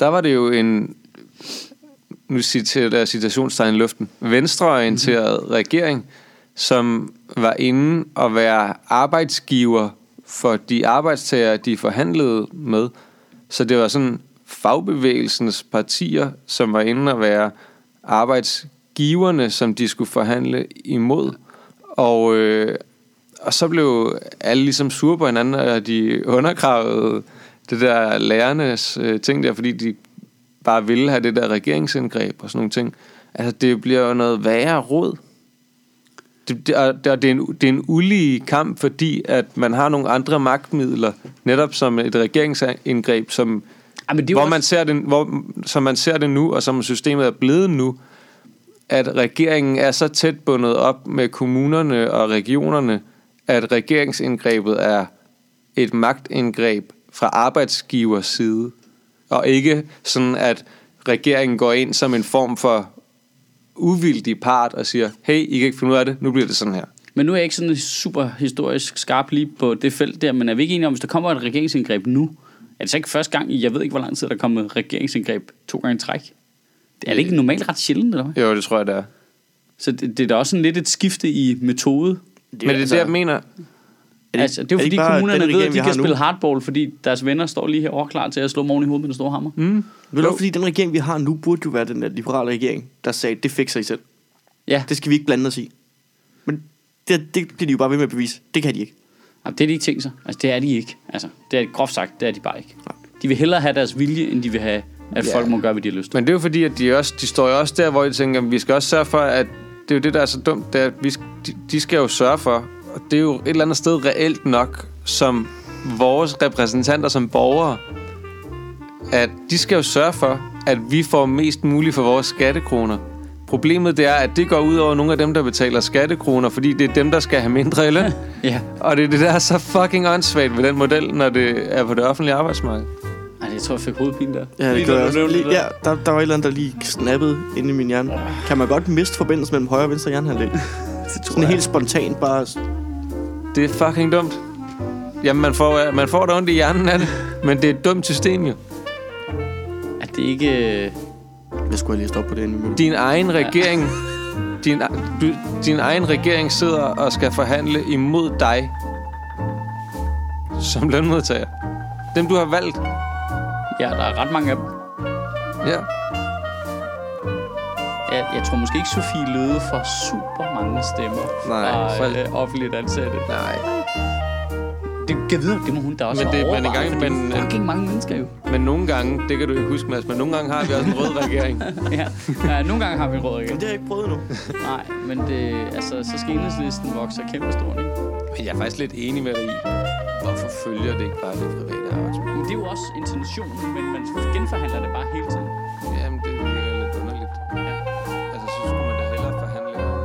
der var det jo en, nu citerer der citationstegn i luften, venstreorienteret mm-hmm. regering, som var inde og være arbejdsgiver for de arbejdstager, de forhandlede med. Så det var sådan fagbevægelsens partier, som var inde og være arbejdsgiverne, som de skulle forhandle imod. Og, øh, og så blev alle ligesom sure på hinanden, og de undergravede det der lærernes øh, ting der, fordi de bare ville have det der regeringsindgreb og sådan nogle ting. Altså, det bliver jo noget værre råd. Det, det, og det, og det, er en, det er en ulige kamp, fordi at man har nogle andre magtmidler, netop som et regeringsindgreb, som,
Ja, men det er jo
hvor
også-
man ser det, hvor, som man ser det nu, og som systemet er blevet nu, at regeringen er så tæt bundet op med kommunerne og regionerne, at regeringsindgrebet er et magtindgreb fra arbejdsgivers side, og ikke sådan, at regeringen går ind som en form for uvildig part og siger, hey, I kan ikke finde ud af det, nu bliver det sådan her.
Men nu er jeg ikke sådan super historisk skarp lige på det felt der, men er vi ikke enige om, hvis der kommer et regeringsindgreb nu, er det så ikke første gang, i- jeg ved ikke, hvor lang tid der er kommet et regeringsindgreb to gange i træk? Er det ikke normalt ret sjældent, eller hvad?
Jo, det tror jeg, det er.
Så det, det er da også sådan lidt et skifte i metode.
Det Men det er altså, det, jeg mener.
Er det, altså, det er jo
er det
fordi
ikke bare
kommunerne
den
ved, at
regering,
de
vi
kan
har nu?
spille hardball, fordi deres venner står lige herovre klar til at slå morgen i hovedet med den store hammer. Mm.
Ved du, hvad, fordi den regering, vi har nu, burde jo være den der liberale regering, der sagde, det fikser I selv.
Ja,
Det skal vi ikke blande os i. Men det, det bliver de jo bare ved med at bevise. Det kan de ikke.
Jamen, det er de ikke tænkt sig. Altså, det er de ikke. Altså, det er groft sagt, det er de bare ikke. De vil hellere have deres vilje, end de vil have, at
Ja.
yeah. folk må gøre, hvad de har lyst til.
Men det er jo fordi, at de, også, de står jo også der, hvor de tænker, at vi skal også sørge for, at det er jo det, der er så dumt, det er, at vi, sk- de, de skal jo sørge for, og det er jo et eller andet sted reelt nok, som vores repræsentanter som borgere, at de skal jo sørge for, at vi får mest muligt for vores skattekroner. Problemet det er, at det går ud over nogle af dem, der betaler skattekroner, fordi det er dem, der skal have mindre i løn.
Ja,
Og det er det, der er så fucking åndssvagt ved den model, når det er på det offentlige arbejdsmarked.
Ej, jeg tror, jeg fik hovedpine der.
Ja, det
Lige
gør
da
jeg
du
også.
nævnte
Lige,
det der.
ja, der, der var et eller andet, der lige snappede inde i min hjerne. Kan man godt miste forbindelsen mellem højre og venstre hjernehalvdel?
Det tror
Sådan
jeg.
helt spontant bare...
Det er fucking dumt. Jamen, man får, øh, man får da ondt i hjernen af det, men det er et dumt system jo.
Er det ikke... øh,
Jeg skulle have læst op på det inden vi mødte.
Din egen regering, din, du, din egen regering sidder og skal forhandle imod dig som lønmodtager. Dem, du har valgt.
Ja, der er ret mange af dem.
Ja.
Jeg, jeg tror måske ikke, Sofie lød for super mange stemmer
Nej,
fra
for-
øh, offentligt ansatte.
Nej.
Det kan videre, det må hun da også
Men det-
have
men en
overvejet,
gang
for det er
imellem-
fucking mange mennesker jo.
Men nogle gange, det kan du ikke huske, Mads, men nogle gange har vi også en rød regering.
ja. ja, nogle gange har vi råd
Men
igen.
det har jeg ikke prøvet endnu.
Nej, men det, altså, så skal enhedslisten vokse kæmpe stort, ikke?
Men jeg er faktisk lidt enig med dig i, hvorfor følger det ikke bare det private arbejdsmarked?
Men det er jo også intentionen, men man genforhandler det bare hele tiden.
Jamen, det er lidt underligt. Altså, så skulle man da hellere forhandle om øh,